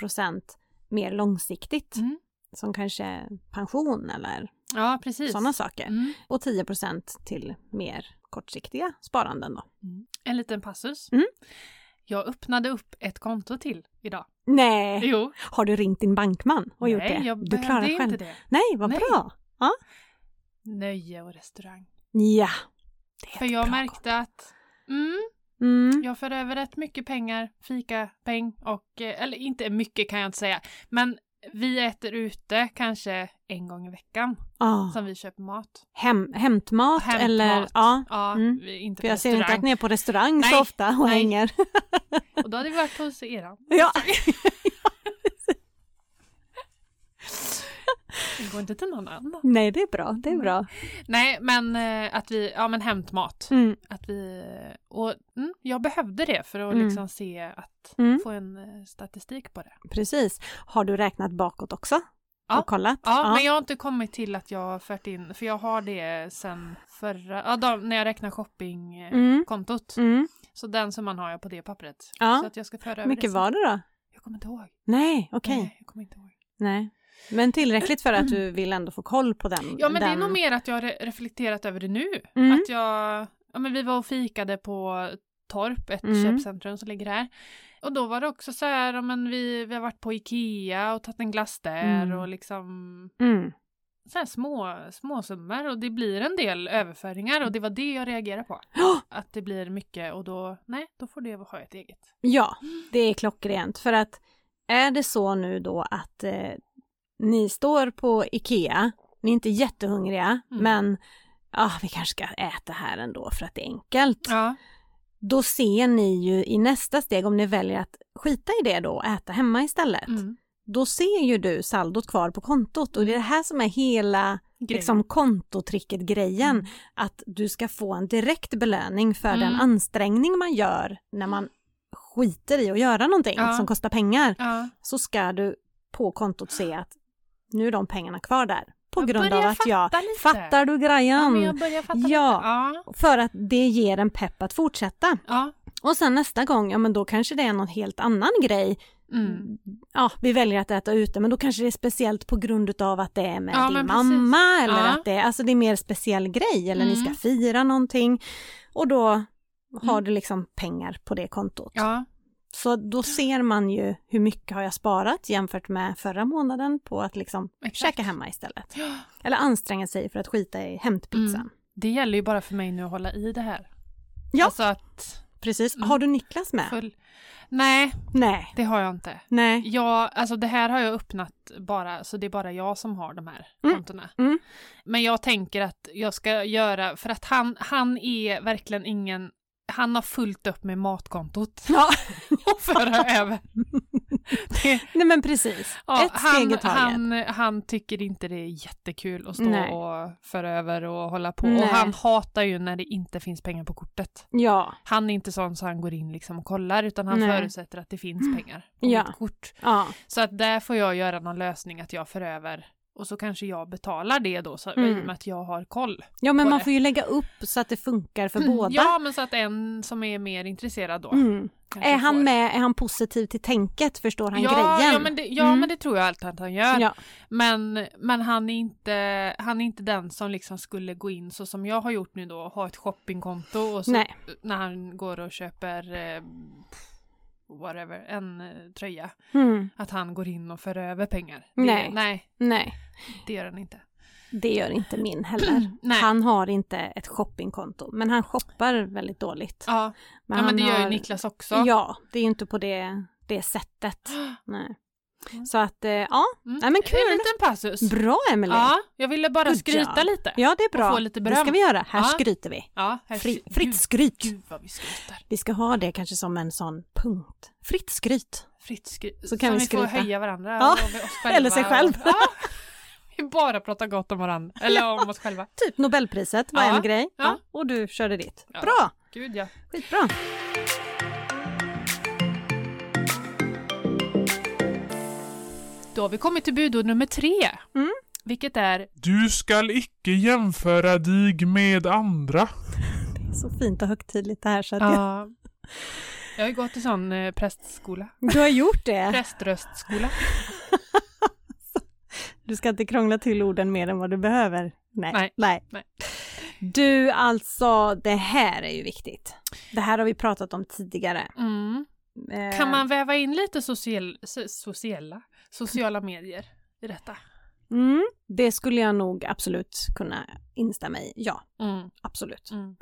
Speaker 1: mer långsiktigt.
Speaker 2: Mm.
Speaker 1: Som kanske pension eller
Speaker 2: Ja, precis.
Speaker 1: sådana saker.
Speaker 2: Mm.
Speaker 1: Och 10 till mer kortsiktiga sparanden då.
Speaker 2: En liten passus.
Speaker 1: Mm.
Speaker 2: Jag öppnade upp ett konto till idag.
Speaker 1: Nej!
Speaker 2: Jo,
Speaker 1: Har du ringt din bankman Eh, och gjort
Speaker 2: nej,
Speaker 1: det?
Speaker 2: jag
Speaker 1: du klarar
Speaker 2: behövde
Speaker 1: själv.
Speaker 2: inte det.
Speaker 1: Nej, vad
Speaker 2: Nej.
Speaker 1: bra!
Speaker 2: Nöje och restaurang.
Speaker 1: Ja.
Speaker 2: För jag
Speaker 1: bra
Speaker 2: märkte att mm,
Speaker 1: Mm.
Speaker 2: jag för över rätt mycket pengar, fika, peng och, eh, eller inte mycket kan jag inte säga, men vi äter ute kanske en gång i veckan
Speaker 1: Ah.
Speaker 2: som vi köper mat.
Speaker 1: Hem, hämtmat, eller? Ja.
Speaker 2: ja
Speaker 1: Mm.
Speaker 2: vi- inte
Speaker 1: För
Speaker 2: på
Speaker 1: jag ser inte att
Speaker 2: restaurang.
Speaker 1: ni är på restaurang
Speaker 2: Nej,
Speaker 1: så ofta och
Speaker 2: nej.
Speaker 1: hänger.
Speaker 2: Och då hade vi varit hos er.
Speaker 1: Ja.
Speaker 2: Det går inte till någon annan.
Speaker 1: Nej, det är bra. Det är bra.
Speaker 2: Nej, men eh, att vi, ja men hämtmat.
Speaker 1: Mm.
Speaker 2: Att vi, och mm, jag behövde det för att
Speaker 1: Mm.
Speaker 2: liksom se att
Speaker 1: Mm.
Speaker 2: få en eh, statistik på det.
Speaker 1: Precis. Har du räknat bakåt också?
Speaker 2: Ja.
Speaker 1: Och kollat?
Speaker 2: Ja, men jag har inte kommit till att jag har fört in, för jag har det sen förra, ja, då, när jag räknar shoppingkontot.
Speaker 1: Mm. Mm.
Speaker 2: Så den summan har jag på det pappret.
Speaker 1: Ja.
Speaker 2: Så att jag ska föra över
Speaker 1: Hur mycket
Speaker 2: sen.
Speaker 1: var det då?
Speaker 2: Jag kommer inte ihåg.
Speaker 1: Nej, okej.
Speaker 2: Nej, jag kommer inte ihåg.
Speaker 1: Nej. Men tillräckligt för att du vill ändå få koll på den.
Speaker 2: Ja, men det är
Speaker 1: den-
Speaker 2: nog mer att jag har re- reflekterat över det nu.
Speaker 1: Mm.
Speaker 2: Att jag, ja men vi var och fikade på Torp, ett
Speaker 1: Mm.
Speaker 2: köpcentrum som ligger här. Och då var det också så här, ja, men vi, vi har varit på Ikea och tagit en glass där
Speaker 1: Mm.
Speaker 2: och liksom
Speaker 1: Mm.
Speaker 2: så här små, små summor och det blir en del överföringar och det var det jag reagerade på.
Speaker 1: Ja.
Speaker 2: Att det blir mycket och då, nej, då får det ha ett eget.
Speaker 1: Ja, det är klockrent. För att är det så nu då att eh, ni står på Ikea, ni är inte jättehungriga,
Speaker 2: Mm.
Speaker 1: men ah, vi kanske ska äta här ändå för att det är enkelt.
Speaker 2: Ja,
Speaker 1: Då ser ni ju i nästa steg, om ni väljer att skita i det då och äta hemma istället,
Speaker 2: mm.
Speaker 1: då ser ju du saldot kvar på kontot och det är det här som är hela
Speaker 2: Grej.
Speaker 1: liksom, kontotricket-grejen.
Speaker 2: Mm.
Speaker 1: Att du ska få en direkt belöning för den
Speaker 2: Mm.
Speaker 1: ansträngning man gör när man skiter i att göra någonting
Speaker 2: Ja.
Speaker 1: som kostar pengar.
Speaker 2: Ja.
Speaker 1: Så ska du på kontot se att nu är de pengarna kvar där. På
Speaker 2: Jag
Speaker 1: grund av
Speaker 2: börjar
Speaker 1: att jag...
Speaker 2: fatta lite.
Speaker 1: Fattar du
Speaker 2: Ja,
Speaker 1: grejen?
Speaker 2: men jag börjar fatta
Speaker 1: Ja.
Speaker 2: lite. Ja.
Speaker 1: För att det ger en pepp att fortsätta.
Speaker 2: Ja.
Speaker 1: Och sen nästa gång, ja men då kanske det är någon helt annan grej.
Speaker 2: Mm.
Speaker 1: Ja, vi väljer att äta ute men då kanske det är speciellt på grund utav att det är med
Speaker 2: Ja,
Speaker 1: din
Speaker 2: men precis.
Speaker 1: mamma eller
Speaker 2: Ja.
Speaker 1: att det är, alltså det är mer speciell grej eller ni
Speaker 2: Mm.
Speaker 1: ska fira någonting. Och då har du liksom pengar på det kontot.
Speaker 2: ja.
Speaker 1: Så då ser man ju hur mycket har jag sparat jämfört med förra månaden på att liksom
Speaker 2: Exakt.
Speaker 1: käka hemma istället.
Speaker 2: Ja.
Speaker 1: Eller anstränga sig för att skita i hämtpizzan.
Speaker 2: Mm. Det gäller ju bara för mig nu att hålla i det här.
Speaker 1: Ja.
Speaker 2: Alltså att...
Speaker 1: Precis.
Speaker 2: Mm.
Speaker 1: Har du Niklas med?
Speaker 2: Full... Nej,
Speaker 1: Nej.
Speaker 2: det har jag inte.
Speaker 1: Nej.
Speaker 2: Ja, alltså det här har jag öppnat bara, så det är bara jag som har de här
Speaker 1: Mm.
Speaker 2: kontona.
Speaker 1: Mm.
Speaker 2: Men jag tänker att jag ska göra, för att han, han är verkligen ingen, han har fullt upp med matkontot
Speaker 1: Ja.
Speaker 2: att föra över. Det,
Speaker 1: Nej men precis.
Speaker 2: ja,
Speaker 1: Ett steg
Speaker 2: han,
Speaker 1: i taget.
Speaker 2: han, han tycker inte det är jättekul att stå
Speaker 1: Nej.
Speaker 2: och föra över och hålla på.
Speaker 1: Nej.
Speaker 2: Och han hatar ju när det inte finns pengar på kortet.
Speaker 1: Ja.
Speaker 2: Han är inte sån så han går in liksom och kollar utan han
Speaker 1: Nej.
Speaker 2: förutsätter att det finns pengar på
Speaker 1: Ja.
Speaker 2: mitt kort.
Speaker 1: ja.
Speaker 2: Så att där får jag göra någon lösning att jag för över och så kanske jag betalar det då så,
Speaker 1: Mm.
Speaker 2: i och med att jag har koll.
Speaker 1: Ja men
Speaker 2: på
Speaker 1: man
Speaker 2: det. Mm.
Speaker 1: får ju lägga upp så att det funkar för Mm. båda.
Speaker 2: Ja, men så att en som är mer intresserad då.
Speaker 1: Mm.
Speaker 2: kanske
Speaker 1: Är
Speaker 2: får.
Speaker 1: han med, är han positiv till tänket, förstår han
Speaker 2: ja,
Speaker 1: grejen?
Speaker 2: Ja, men det, ja
Speaker 1: Mm.
Speaker 2: men det tror jag alltid att han gör.
Speaker 1: Ja.
Speaker 2: Men, men han, är inte, han är inte den som liksom skulle gå in så som jag har gjort nu då, ha ett shoppingkonto och så
Speaker 1: Nej.
Speaker 2: när han går och köper eh, whatever, en eh, tröja,
Speaker 1: Mm.
Speaker 2: att han går in och för över pengar.
Speaker 1: Nej.
Speaker 2: Det, nej,
Speaker 1: Nej,
Speaker 2: det gör han inte.
Speaker 1: det gör inte min heller.
Speaker 2: Nej.
Speaker 1: Han har inte ett shoppingkonto, men han shoppar väldigt dåligt.
Speaker 2: Ja, ja men
Speaker 1: han
Speaker 2: det gör ju
Speaker 1: har-
Speaker 2: Niklas också.
Speaker 1: Ja, det är ju inte på det, det sättet. Nej.
Speaker 2: Mm.
Speaker 1: Så att, eh, ja,
Speaker 2: Mm.
Speaker 1: Nej, men kul.
Speaker 2: En liten passus.
Speaker 1: bra Emelie. Ja,
Speaker 2: Ja, jag ville bara
Speaker 1: Good
Speaker 2: skryta
Speaker 1: job.
Speaker 2: lite.
Speaker 1: det är bra.
Speaker 2: Och få lite
Speaker 1: det
Speaker 2: beröm.
Speaker 1: ska vi göra. Här
Speaker 2: Ja.
Speaker 1: skryter vi.
Speaker 2: Ja, här-
Speaker 1: Fri,
Speaker 2: Gud,
Speaker 1: fritt skryt.
Speaker 2: Gud vad vi skryter.
Speaker 1: Vi ska ha det kanske som en sån punkt. Fritt skryt.
Speaker 2: Fritt skryt.
Speaker 1: Så kan vi
Speaker 2: vi får
Speaker 1: skryta.
Speaker 2: höja varandra.
Speaker 1: Ja,
Speaker 2: och oss själva
Speaker 1: eller sig själv.
Speaker 2: Och, ja, vi bara pratar gott om varandra. Eller om oss själva.
Speaker 1: Typ Nobelpriset var
Speaker 2: Ja,
Speaker 1: en grej.
Speaker 2: ja.
Speaker 1: Och du körde ditt.
Speaker 2: Ja.
Speaker 1: Bra!
Speaker 2: Gud ja.
Speaker 1: Skitbra!
Speaker 2: Då har vi kommit till budord nummer tre.
Speaker 1: Mm.
Speaker 2: Vilket är
Speaker 3: Du skall icke jämföra dig med andra.
Speaker 1: Det är så fint och högtidligt det här så att jag...
Speaker 2: Ja. Jag har ju gått i sån eh, prästskola.
Speaker 1: Du har gjort det!
Speaker 2: Präströstskola.
Speaker 1: Du ska inte krångla till orden mer än vad du behöver. Nej.
Speaker 2: Nej. Nej.
Speaker 1: Du, alltså, det här är ju viktigt. Det här har vi pratat om tidigare.
Speaker 2: Mm.
Speaker 1: Eh,
Speaker 2: Kan man väva in lite social, so- sociala, sociala medier i detta?
Speaker 1: Mm, det skulle jag nog absolut kunna instämma i. Ja,
Speaker 2: Mm.
Speaker 1: absolut.
Speaker 2: Mm.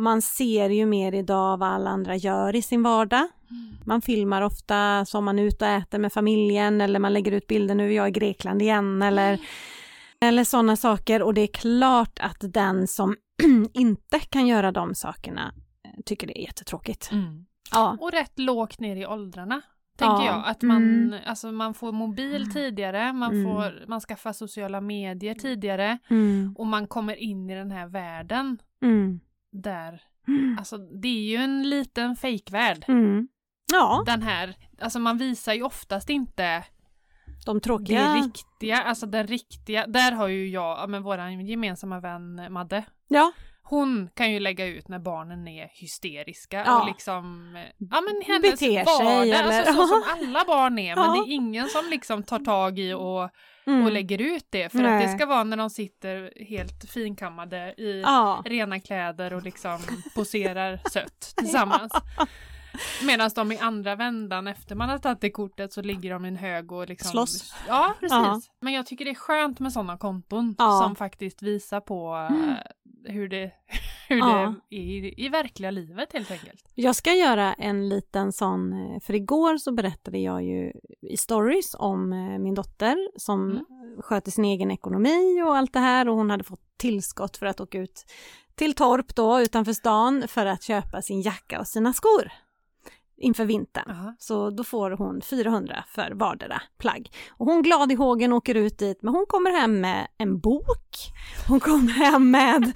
Speaker 1: Man ser ju mer idag vad alla andra gör i sin vardag.
Speaker 2: Mm.
Speaker 1: Man filmar ofta som man är ute och äter med familjen eller man lägger ut bilder nu är jag i Grekland igen
Speaker 2: Mm.
Speaker 1: eller, eller sådana saker och det är klart att den som inte kan göra de sakerna eh, tycker det är jättetråkigt.
Speaker 2: Mm.
Speaker 1: Ja,
Speaker 2: Och rätt lågt ner i åldrarna. Tänker
Speaker 1: Ja.
Speaker 2: jag. Att man,
Speaker 1: Mm.
Speaker 2: alltså, man får mobil
Speaker 1: Mm.
Speaker 2: tidigare, man,
Speaker 1: Mm.
Speaker 2: får, man skaffar sociala medier tidigare
Speaker 1: mm,
Speaker 2: och man kommer in i den här världen
Speaker 1: mm,
Speaker 2: där,
Speaker 1: Mm.
Speaker 2: alltså det är ju en liten fejkvärld.
Speaker 1: mm. ja
Speaker 2: Den här, alltså man visar ju oftast inte
Speaker 1: de
Speaker 2: det
Speaker 1: tråkiga.
Speaker 2: riktiga, alltså den riktiga, där har ju jag, ja, men våran gemensamma vän eh, Madde,
Speaker 1: Ja,
Speaker 2: hon kan ju lägga ut när barnen är hysteriska
Speaker 1: Ja.
Speaker 2: och liksom, eh, ja men hennes
Speaker 1: Beter sig
Speaker 2: vardag,
Speaker 1: eller-
Speaker 2: alltså så som alla barn är, men
Speaker 1: Ja.
Speaker 2: det är ingen som liksom tar tag i och,
Speaker 1: mm.
Speaker 2: och lägger ut det, för att
Speaker 1: Nej.
Speaker 2: det ska vara när de sitter helt finkammade i
Speaker 1: ja.
Speaker 2: rena kläder och liksom poserar sött tillsammans. Medan de i andra vändan efter man har tagit det kortet så ligger de i en hög och liksom...
Speaker 1: Slåss.
Speaker 2: Ja, precis.
Speaker 1: Ja.
Speaker 2: Men jag tycker det är skönt med sådana konton
Speaker 1: Ja.
Speaker 2: som faktiskt visar på eh, hur det, hur
Speaker 1: Ja.
Speaker 2: det är i, i verkliga livet helt enkelt.
Speaker 1: Jag ska göra en liten sån, eh, för igår så berättade jag ju i stories om eh, min dotter som
Speaker 2: Mm.
Speaker 1: sköter sin egen ekonomi och allt det här och hon hade fått tillskott för att åka ut till Torp då utanför stan för att köpa sin jacka och sina skor inför vintern.
Speaker 2: Aha.
Speaker 1: Så då får hon 400 för vardera plagg. Och hon glad i hågen åker ut dit, men hon kommer hem med en bok. Hon kommer hem med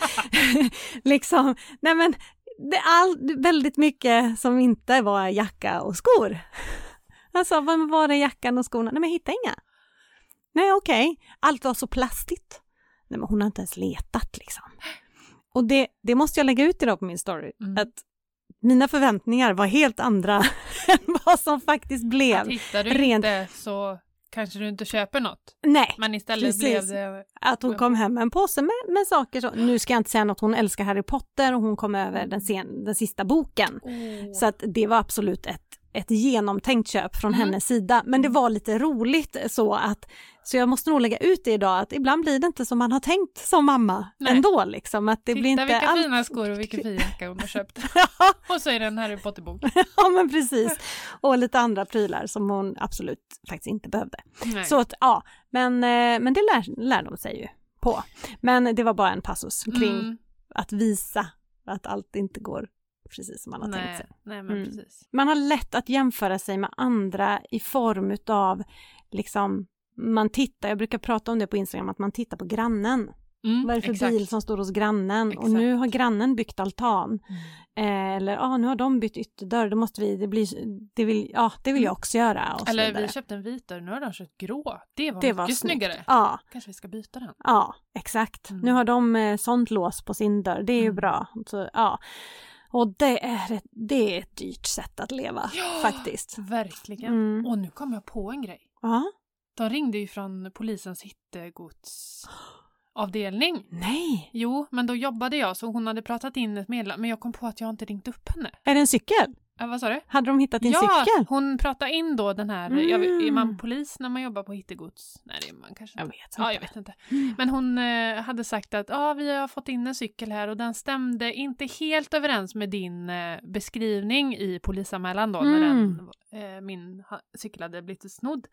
Speaker 1: liksom, nej men, det är all, väldigt mycket som inte var jacka och skor. Alltså, vad var det jackan och skorna? Nej men jag hittade inga. Nej okej, allt var så plastigt. Nej men hon har inte ens letat liksom. Och det, det måste jag lägga ut idag på min story,
Speaker 2: Mm.
Speaker 1: att mina förväntningar var helt andra än vad som faktiskt
Speaker 2: Att
Speaker 1: blev.
Speaker 2: hittar du
Speaker 1: rent-
Speaker 2: inte så kanske du inte köper något.
Speaker 1: Nej,
Speaker 2: Men istället
Speaker 1: Precis.
Speaker 2: blev det...
Speaker 1: att hon kom hem med en påse med, med saker. Så, nu ska jag inte säga något, hon älskar Harry Potter och hon kom över den, sen, den sista boken. Så att det var absolut ett, ett genomtänkt köp från
Speaker 2: Mm.
Speaker 1: hennes sida. Men det var lite roligt så att, så jag måste nog lägga ut det idag, att ibland blir det inte som man har tänkt som mamma
Speaker 2: Nej.
Speaker 1: ändå liksom. Att det
Speaker 2: Titta
Speaker 1: blir inte
Speaker 2: vilka
Speaker 1: allt...
Speaker 2: fina skor och vilken fin jacka hon har köpt. och så är det en Harry Potter-bok.
Speaker 1: ja men precis. Och lite andra prylar som hon absolut faktiskt inte behövde.
Speaker 2: Nej.
Speaker 1: Så att, ja, men, eh, men det lär, lär de sig ju på. Men det var bara en passus kring
Speaker 2: Mm,
Speaker 1: att visa att allt inte går precis som man har tänkt
Speaker 2: nej,
Speaker 1: sig.
Speaker 2: nej, men
Speaker 1: Mm.
Speaker 2: precis.
Speaker 1: Man har lätt att jämföra sig med andra i form utav liksom man tittar, jag brukar prata om det på Instagram, att man tittar på grannen.
Speaker 2: Mm,
Speaker 1: Vad är det för bil som står hos grannen? Och
Speaker 2: Exakt. Mm.
Speaker 1: nu har grannen byggt altan. Eh, eller ah, nu har de bytt ytterdörr, då måste vi, det blir, det vill, ja, det vill jag också göra. Och så
Speaker 2: Eller
Speaker 1: vidare.
Speaker 2: vi köpte en vit dörr, nu har de köpt grå. Det var
Speaker 1: Det
Speaker 2: mycket
Speaker 1: var snyggt.
Speaker 2: snyggare.
Speaker 1: Ja,
Speaker 2: Kanske vi ska byta den.
Speaker 1: Ja, exakt.
Speaker 2: Mm.
Speaker 1: Nu har de eh, sånt lås på sin dörr, det är ju
Speaker 2: Mm.
Speaker 1: bra. Så, ja. Och det är, ett, det är ett dyrt sätt att leva
Speaker 2: Ja!
Speaker 1: faktiskt.
Speaker 2: Verkligen.
Speaker 1: Mm.
Speaker 2: Och nu kom jag på en grej.
Speaker 1: Ja.
Speaker 2: De ringde ju från polisens hittegodsavdelning.
Speaker 1: Nej,
Speaker 2: Jo, men då jobbade jag så hon hade pratat in ett meddelande men jag kom på att jag inte ringt upp henne.
Speaker 1: är det en cykel?
Speaker 2: Äh, vad sa du?
Speaker 1: Hade de hittat din
Speaker 2: ja,
Speaker 1: cykel?
Speaker 2: hon pratade in då den här,
Speaker 1: Mm.
Speaker 2: jag vet- är man polis när man jobbar på hittegods? Nej det är man kanske
Speaker 1: Jag
Speaker 2: inte.
Speaker 1: vet inte.
Speaker 2: Ja, jag vet inte. Men hon eh, hade sagt att ah, vi har fått in en cykel här och den stämde inte helt överens med din eh, beskrivning i polisanmälan då när
Speaker 1: Mm.
Speaker 2: den, eh, min ha, cykel hade blivit snodd.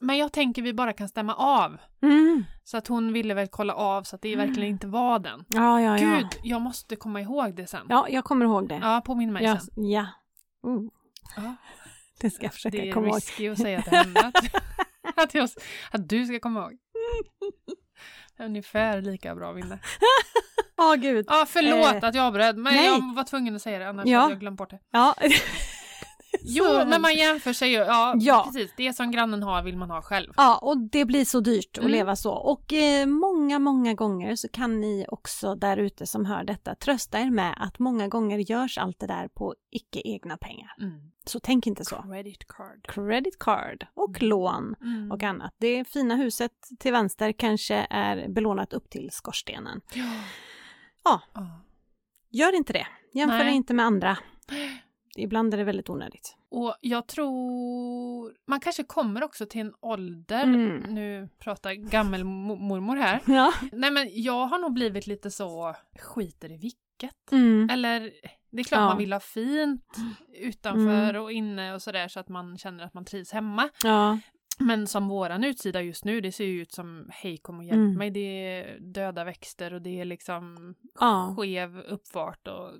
Speaker 2: Men jag tänker vi bara kan stämma av.
Speaker 1: Mm.
Speaker 2: Så att hon ville väl kolla av så att det
Speaker 1: Mm.
Speaker 2: verkligen inte var den.
Speaker 1: Ja, ja, ja.
Speaker 2: Gud, jag måste komma ihåg det sen.
Speaker 1: Ja, jag kommer ihåg det.
Speaker 2: Ja, påminn mig
Speaker 1: ja.
Speaker 2: sen.
Speaker 1: ja. Mm.
Speaker 2: Ja.
Speaker 1: Det ska jag försöka
Speaker 2: Det är
Speaker 1: komma ihåg.
Speaker 2: risky att säga till henne att, att, jag, att du ska komma ihåg. Ungefär lika bra minne.
Speaker 1: Ja, gud.
Speaker 2: Ja, förlåt
Speaker 1: Eh,
Speaker 2: att jag avbröt, men
Speaker 1: nej.
Speaker 2: jag var tvungen att säga det annars
Speaker 1: Ja.
Speaker 2: hade jag glömt bort det.
Speaker 1: Ja.
Speaker 2: Jo,
Speaker 1: Så
Speaker 2: men man jämför sig ju. Ja,
Speaker 1: Ja.
Speaker 2: precis. Det som grannen har vill man ha själv.
Speaker 1: Ja, och det blir så dyrt att
Speaker 2: Mm.
Speaker 1: leva så. Och eh, många, många gånger så kan ni också där ute som hör detta trösta er med att många gånger görs allt det där på icke egna pengar.
Speaker 2: Mm.
Speaker 1: Så tänk inte så.
Speaker 2: Credit card.
Speaker 1: Credit card och lån
Speaker 2: Mm.
Speaker 1: och annat. Det fina huset till vänster kanske är belånat upp till skorstenen.
Speaker 2: Ja.
Speaker 1: Ja.
Speaker 2: Ja.
Speaker 1: Gör inte det. Jämför
Speaker 2: Nej.
Speaker 1: er inte med andra. Ibland är det väldigt onödigt.
Speaker 2: Och jag tror... Man kanske kommer också till en ålder...
Speaker 1: Mm.
Speaker 2: Nu pratar gammelmormor här.
Speaker 1: Ja.
Speaker 2: Nej, men jag har nog blivit lite så... Skiter i vilket.
Speaker 1: Mm.
Speaker 2: Eller det är klart
Speaker 1: Ja. Mm.
Speaker 2: man vill ha fint utanför och inne och sådär så att man känner att man trivs hemma.
Speaker 1: Ja.
Speaker 2: Men som våran utsida just nu, det ser ju ut som hej kom och hjälp
Speaker 1: Mm.
Speaker 2: mig. Det är döda växter och det är liksom
Speaker 1: Ja.
Speaker 2: skev uppfart och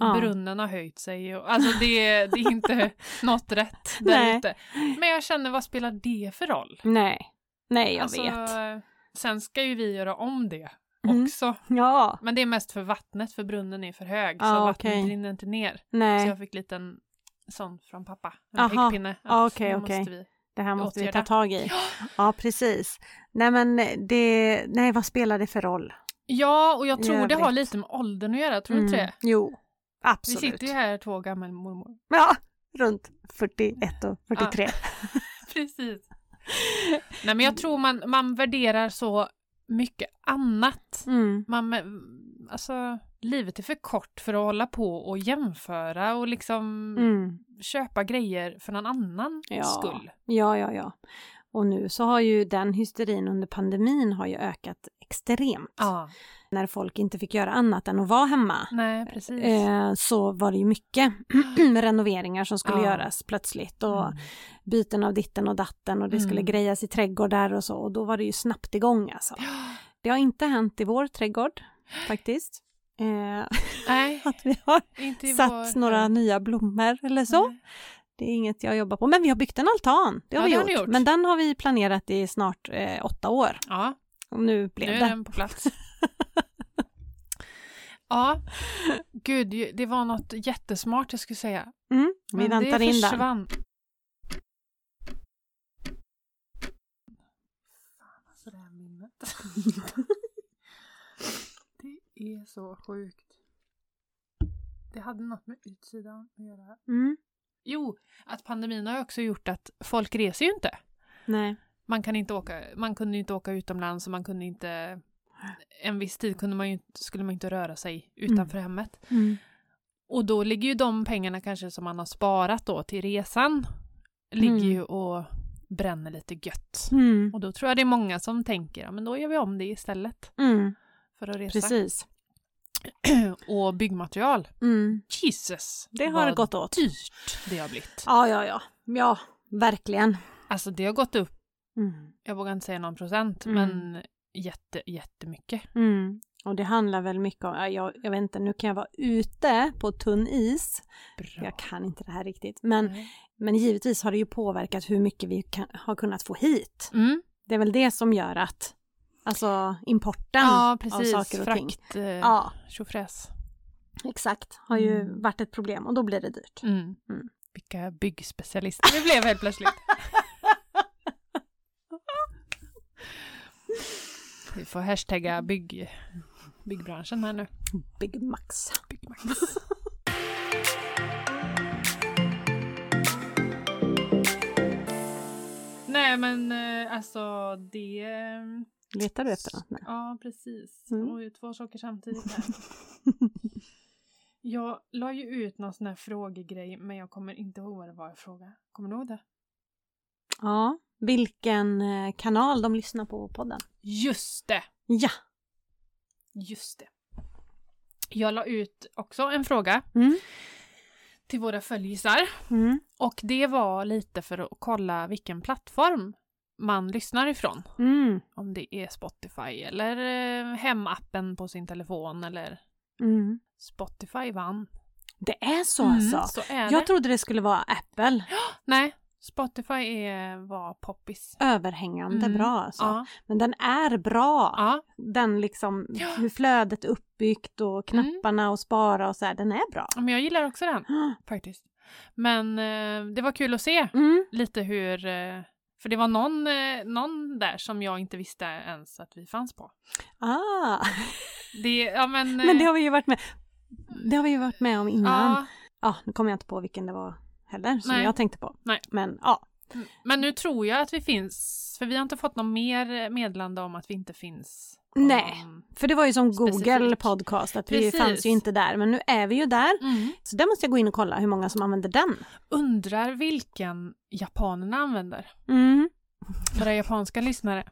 Speaker 1: Ja.
Speaker 2: brunnen har höjt sig. Och, alltså det, är- det är inte något rätt där
Speaker 1: Nej.
Speaker 2: ute. Men jag känner, vad spelar det för roll?
Speaker 1: Nej. Nej, jag
Speaker 2: Alltså,
Speaker 1: vet.
Speaker 2: Sen ska ju vi göra om det
Speaker 1: Mhm.
Speaker 2: också.
Speaker 1: Ja.
Speaker 2: Men det är mest för vattnet, för brunnen är för hög. så
Speaker 1: Ja,
Speaker 2: vattnet
Speaker 1: Ah, okej.
Speaker 2: rinner inte ner. Så
Speaker 1: Nej,
Speaker 2: jag fick lite en sån från pappa. En
Speaker 1: Aha.
Speaker 2: pekpinne. att
Speaker 1: Ja, okej,
Speaker 2: nu
Speaker 1: okej.
Speaker 2: måste vi-
Speaker 1: det här måste vi ta
Speaker 2: åtgärda.
Speaker 1: tag i. Ja, precis. Nej, men det... Nej, vad spelar det för roll?
Speaker 2: Ja, och jag
Speaker 1: I
Speaker 2: tror det har
Speaker 1: övrigt.
Speaker 2: lite med åldern att göra, tror du inte
Speaker 1: Mm.
Speaker 2: det?
Speaker 1: Jo,
Speaker 2: Vi
Speaker 1: absolut.
Speaker 2: sitter ju här två gammelmormor.
Speaker 1: Ja, runt 41 och 43.
Speaker 2: Precis. Nej, men jag tror man, man värderar så mycket annat.
Speaker 1: Mm.
Speaker 2: Man, alltså, livet är för kort för att hålla på och jämföra och liksom
Speaker 1: Mm.
Speaker 2: köpa grejer för någon annan
Speaker 1: Ja.
Speaker 2: skull.
Speaker 1: Ja, ja, ja. Och nu så har ju den hysterin under pandemin har ju ökat extremt.
Speaker 2: Ja,
Speaker 1: När folk inte fick göra annat än att vara hemma.
Speaker 2: nej precis.
Speaker 1: Eh, så var det ju mycket renoveringar som skulle
Speaker 2: Ja.
Speaker 1: göras plötsligt och
Speaker 2: Mm.
Speaker 1: byten av ditten och datten och det skulle
Speaker 2: Mm.
Speaker 1: grejas i trädgårdar och så och då var det ju snabbt igång alltså. Det har inte hänt i vår trädgård faktiskt. Eh,
Speaker 2: Nej,
Speaker 1: att vi har
Speaker 2: inte i
Speaker 1: satt
Speaker 2: vår-
Speaker 1: några nya blommor eller så.
Speaker 2: Nej.
Speaker 1: Det är inget jag jobbar på. Men vi har byggt en altan, det har,
Speaker 2: Mm.
Speaker 1: vi,
Speaker 2: Ja, det har
Speaker 1: gjort.
Speaker 2: ni gjort.
Speaker 1: Men den har vi planerat i snart eh, åtta år.
Speaker 2: Ja,
Speaker 1: Och nu
Speaker 2: nu
Speaker 1: blev
Speaker 2: är
Speaker 1: det.
Speaker 2: den på plats. ja, gud, ju- det var något jättesmart jag skulle säga.
Speaker 1: Mm, vi
Speaker 2: men
Speaker 1: väntar
Speaker 2: det
Speaker 1: in den.
Speaker 2: försvann. Fan, alltså det här minnet. det är så sjukt. Det hade något med utsidan att göra.
Speaker 1: Mm,
Speaker 2: Jo, att pandemin har ju också gjort att folk reser ju inte.
Speaker 1: nej.
Speaker 2: man, kan inte åka, man kunde ju inte åka utomlands och man kunde inte... En viss tid kunde man ju, inte- skulle man inte röra sig utanför hemmet.
Speaker 1: Mm.
Speaker 2: Och då ligger ju de pengarna kanske som man har sparat då till resan, ligger
Speaker 1: Mm.
Speaker 2: ju och bränner lite gött.
Speaker 1: Mm.
Speaker 2: Och då tror jag det är många som tänker, ja men då gör vi om det istället
Speaker 1: Mm.
Speaker 2: för att resa.
Speaker 1: Precis.
Speaker 2: Och byggmaterial,
Speaker 1: Mm.
Speaker 2: Jesus!
Speaker 1: Det har
Speaker 2: vad
Speaker 1: gått åt.
Speaker 2: dyrt det har blivit.
Speaker 1: Ja, ja, ja. Ja, verkligen.
Speaker 2: Alltså det har gått upp,
Speaker 1: Mm.
Speaker 2: jag vågar inte säga någon procent,
Speaker 1: Mm.
Speaker 2: men jätte, jättemycket.
Speaker 1: Mm. Och det handlar väl mycket om, ja, jag, jag vet inte, nu kan jag vara ute på tunn is.
Speaker 2: Bra.
Speaker 1: Jag kan inte det här riktigt. Men,
Speaker 2: Nej.
Speaker 1: men givetvis har det ju påverkat hur mycket vi kan, har kunnat få hit.
Speaker 2: Mm.
Speaker 1: Det är väl det som gör att, alltså importen
Speaker 2: ja,
Speaker 1: av saker och ting.
Speaker 2: Frakt, eh,
Speaker 1: Ja,
Speaker 2: tjofräs.
Speaker 1: exakt. Har ju
Speaker 2: Mm.
Speaker 1: varit ett problem och då blir det dyrt.
Speaker 2: Mm.
Speaker 1: Mm.
Speaker 2: Vilka byggspecialister vi blev helt plötsligt. Vi får hashtagga bygg, byggbranschen här nu.
Speaker 1: Big Max.
Speaker 2: Byggmax. Nej men eh, alltså det...
Speaker 1: Letar du efter något? Nej.
Speaker 2: Ja, precis.
Speaker 1: Mm.
Speaker 2: Oj, två saker samtidigt här. jag la ju ut någon sån här frågegrej, men jag kommer inte ihåg vad det var jag frågade. Kommer du ihåg det?
Speaker 1: Ja. Vilken eh, kanal de lyssnar på podden?
Speaker 2: Just det!
Speaker 1: Ja.
Speaker 2: Just det. Jag la ut också en fråga
Speaker 1: Mm.
Speaker 2: till våra följisar.
Speaker 1: Mm.
Speaker 2: Och det var lite för att kolla vilken plattform man lyssnar ifrån.
Speaker 1: Mm.
Speaker 2: Om det är Spotify eller eh, hemappen på sin telefon eller
Speaker 1: Mm.
Speaker 2: Spotify vann.
Speaker 1: Det är så
Speaker 2: Mm,
Speaker 1: alltså?
Speaker 2: Så är
Speaker 1: Jag
Speaker 2: det.
Speaker 1: trodde det skulle vara Apple.
Speaker 2: Nej, Spotify är, var poppis.
Speaker 1: Överhängande
Speaker 2: Mm.
Speaker 1: bra alltså.
Speaker 2: Ja,
Speaker 1: Men den är bra.
Speaker 2: ja,
Speaker 1: Den liksom,
Speaker 2: Ja. Mm.
Speaker 1: hur flödet är uppbyggt och knapparna och spara och så här, den är bra.
Speaker 2: men jag gillar också den faktiskt. Men eh, det var kul att se
Speaker 1: Mm.
Speaker 2: lite hur, eh, för det var någon, eh, någon där som jag inte visste ens att vi fanns på.
Speaker 1: Ah.
Speaker 2: Det, ja men... eh,
Speaker 1: Men det har vi ju varit med det har vi ju varit med om innan. Ja,
Speaker 2: ja,
Speaker 1: nu kommer jag inte på vilken det var heller som
Speaker 2: Nej.
Speaker 1: jag tänkte på.
Speaker 2: Nej.
Speaker 1: Men ja,
Speaker 2: men nu tror jag att vi finns, för vi har inte fått någon mer meddelande om att vi inte finns. på
Speaker 1: Nej.
Speaker 2: någon-
Speaker 1: för det var ju som Google
Speaker 2: Specifik.
Speaker 1: podcast att vi
Speaker 2: Precis.
Speaker 1: fanns ju inte där men nu är vi ju där.
Speaker 2: Mm.
Speaker 1: Så där måste jag gå in och kolla hur många som använder den.
Speaker 2: Undrar vilken japanerna använder.
Speaker 1: Mm.
Speaker 2: Våra japanska lyssnare.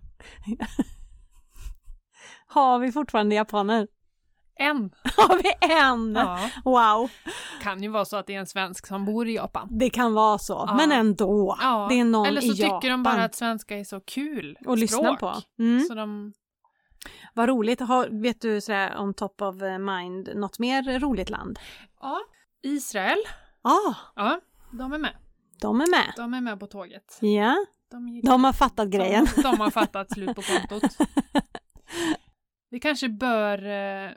Speaker 1: Har vi fortfarande japaner?
Speaker 2: En.
Speaker 1: Har vi en?
Speaker 2: Ja.
Speaker 1: Wow,
Speaker 2: Kan ju vara så att det är en svensk som bor i Japan.
Speaker 1: det kan vara så.
Speaker 2: Ja.
Speaker 1: Men ändå,
Speaker 2: Ja.
Speaker 1: det är någon
Speaker 2: Eller så
Speaker 1: i
Speaker 2: tycker
Speaker 1: Japan.
Speaker 2: de bara att svenska är så kul
Speaker 1: och lyssna
Speaker 2: språk.
Speaker 1: på. Mm.
Speaker 2: Så de,
Speaker 1: Vad roligt. Har, vet du sådär on top of mind något mer roligt land?
Speaker 2: ja. Israel,
Speaker 1: Ja,
Speaker 2: ja, de är med.
Speaker 1: de är med.
Speaker 2: De är med på tåget.
Speaker 1: Ja,
Speaker 2: De, gillar-
Speaker 1: de har fattat grejen.
Speaker 2: De, de har fattat slut på kontot. Vi kanske bör eh,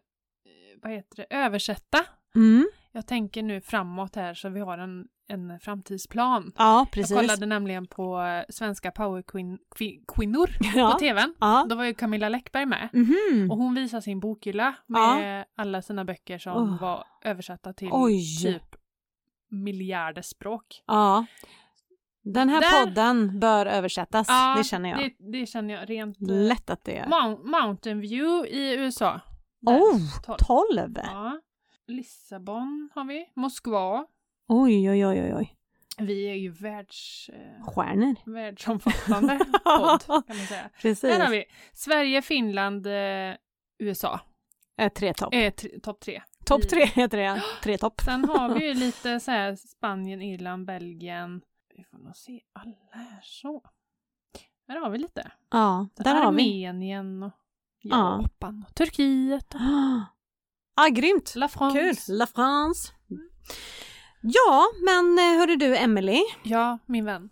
Speaker 2: vad heter det, översätta.
Speaker 1: Mm.
Speaker 2: Jag tänker nu framåt här så vi har en, en framtidsplan.
Speaker 1: Ja,
Speaker 2: Jag
Speaker 1: precis.
Speaker 2: kollade nämligen på eh, svenska powerkvinnor på
Speaker 1: Ja.
Speaker 2: tvn.
Speaker 1: Ja.
Speaker 2: Då var ju Camilla Läckberg med.
Speaker 1: Mhm.
Speaker 2: Och hon visar sin bokhylla med alla sina böcker som
Speaker 1: Oh.
Speaker 2: var översatta till
Speaker 1: Oj!
Speaker 2: typ miljarder språk.
Speaker 1: Ja. Den här
Speaker 2: Där-
Speaker 1: podden bör översättas,
Speaker 2: Ja,
Speaker 1: det känner jag.
Speaker 2: Det, det känner jag rent... eh,
Speaker 1: Lätt att det är.
Speaker 2: Mount, Mountain View i USA. Där,
Speaker 1: Oh,
Speaker 2: tolv.
Speaker 1: 12!
Speaker 2: Ja. Lissabon har vi. Moskva.
Speaker 1: Oj, oj, oj, oj, oj.
Speaker 2: Vi är ju världs, eh,
Speaker 1: Stjärnor.
Speaker 2: världsomfattande podd kan man säga.
Speaker 1: Precis.
Speaker 2: Där har vi Sverige, Finland, eh, USA.
Speaker 1: Eh, Tre topp.
Speaker 2: Eh, t- topp tre.
Speaker 1: Topp
Speaker 2: i-
Speaker 1: tre heter det. Tre topp.
Speaker 2: Sen har vi ju lite så här Spanien, Irland, Belgien. Vi får nog se alla här så. Här har vi lite.
Speaker 1: Ja,
Speaker 2: Sen
Speaker 1: där har vi.
Speaker 2: Armenien och
Speaker 1: Ja.
Speaker 2: Japan och Turkiet. och
Speaker 1: Ah, grymt!
Speaker 2: La France.
Speaker 1: Kul! La France. Ja, men eh, hörru du Emelie,
Speaker 2: Ja, min vän.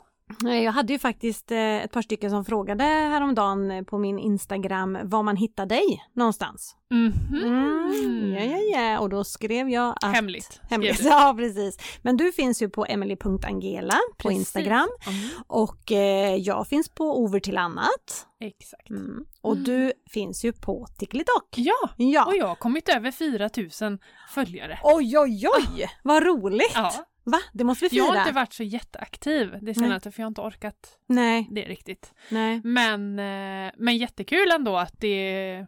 Speaker 1: eh, jag hade ju faktiskt eh, ett par stycken som frågade häromdagen eh, på min Instagram var man hittar dig någonstans.
Speaker 2: Mhm.
Speaker 1: Mm, ja, ja, ja. Och då skrev jag att...
Speaker 2: Hemligt.
Speaker 1: Hemligt.
Speaker 2: skrev du.
Speaker 1: Ja, precis. Men du finns ju på emily.angela på
Speaker 2: Precis.
Speaker 1: Instagram
Speaker 2: Mm,
Speaker 1: och eh, jag finns på Over till annat.
Speaker 2: Exakt.
Speaker 1: Mm. Och
Speaker 2: Mm.
Speaker 1: du finns ju på TikTok.
Speaker 2: Ja,
Speaker 1: Ja.
Speaker 2: och jag har kommit över 4000 följare.
Speaker 1: Oj, oj, oj! Vad roligt!
Speaker 2: Ah. Ja,
Speaker 1: Va? Det måste vi fira.
Speaker 2: jag har inte varit så jätteaktiv det senaste för jag har inte orkat
Speaker 1: Nej,
Speaker 2: det riktigt.
Speaker 1: nej.
Speaker 2: Men, eh, men jättekul ändå att det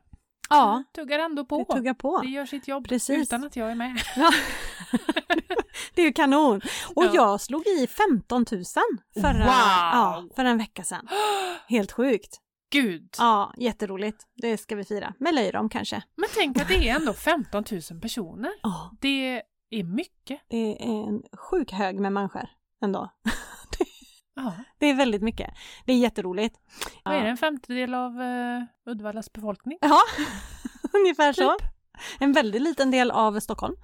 Speaker 1: Ja,
Speaker 2: tuggar ändå på.
Speaker 1: det tuggar på.
Speaker 2: Det gör sitt jobb
Speaker 1: Precis.
Speaker 2: utan att jag är med.
Speaker 1: Ja. det är ju kanon. Och
Speaker 2: Ja.
Speaker 1: jag slog i 15 000 förra,
Speaker 2: Wow.
Speaker 1: ja, för en vecka sedan. Helt sjukt.
Speaker 2: Gud!
Speaker 1: Ja, jätteroligt. Det ska vi fira. Med löjrom kanske.
Speaker 2: Men tänk att det är ändå 15 000 personer.
Speaker 1: Ja,
Speaker 2: Det är mycket.
Speaker 1: det är en sjuk hög med människor ändå.
Speaker 2: Ja.
Speaker 1: Det är väldigt mycket. Det är jätteroligt.
Speaker 2: Vad är det, en femtedel av eh, Uddevallas befolkning?
Speaker 1: Ja, ungefär så.
Speaker 2: Typ.
Speaker 1: En väldigt liten del av Stockholm.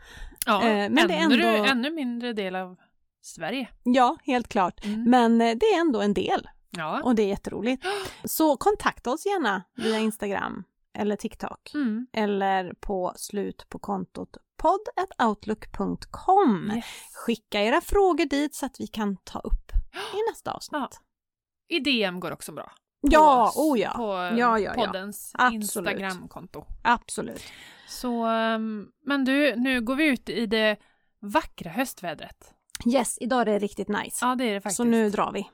Speaker 2: Ja,
Speaker 1: Eh, men det är
Speaker 2: ännu,
Speaker 1: ändå-
Speaker 2: ännu mindre del av Sverige.
Speaker 1: Ja, helt klart.
Speaker 2: Mm.
Speaker 1: Men eh, det är ändå en del
Speaker 2: Ja.
Speaker 1: och det är jätteroligt. Så kontakta oss gärna via Instagram eller TikTok
Speaker 2: Mm.
Speaker 1: eller på slut på kontot podd.outlook.com.
Speaker 2: Yes.
Speaker 1: Skicka era frågor dit så att vi kan ta upp i nästa avsnitt.
Speaker 2: Ja. I DM går också bra.
Speaker 1: Ja,
Speaker 2: på,
Speaker 1: oh ja.
Speaker 2: På
Speaker 1: Ja,
Speaker 2: eh,
Speaker 1: ja, ja.
Speaker 2: poddens
Speaker 1: Absolut.
Speaker 2: Instagramkonto.
Speaker 1: Absolut.
Speaker 2: Så, ehm, men du, nu går vi ut i det vackra höstvädret.
Speaker 1: Yes, idag är det riktigt nice.
Speaker 2: Ja, det är det faktiskt.
Speaker 1: så nu drar vi.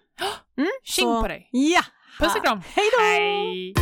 Speaker 2: Tjing
Speaker 1: så-
Speaker 2: på dig!
Speaker 1: Ja!
Speaker 2: Puss och kram!
Speaker 1: Hej då!
Speaker 2: Hej!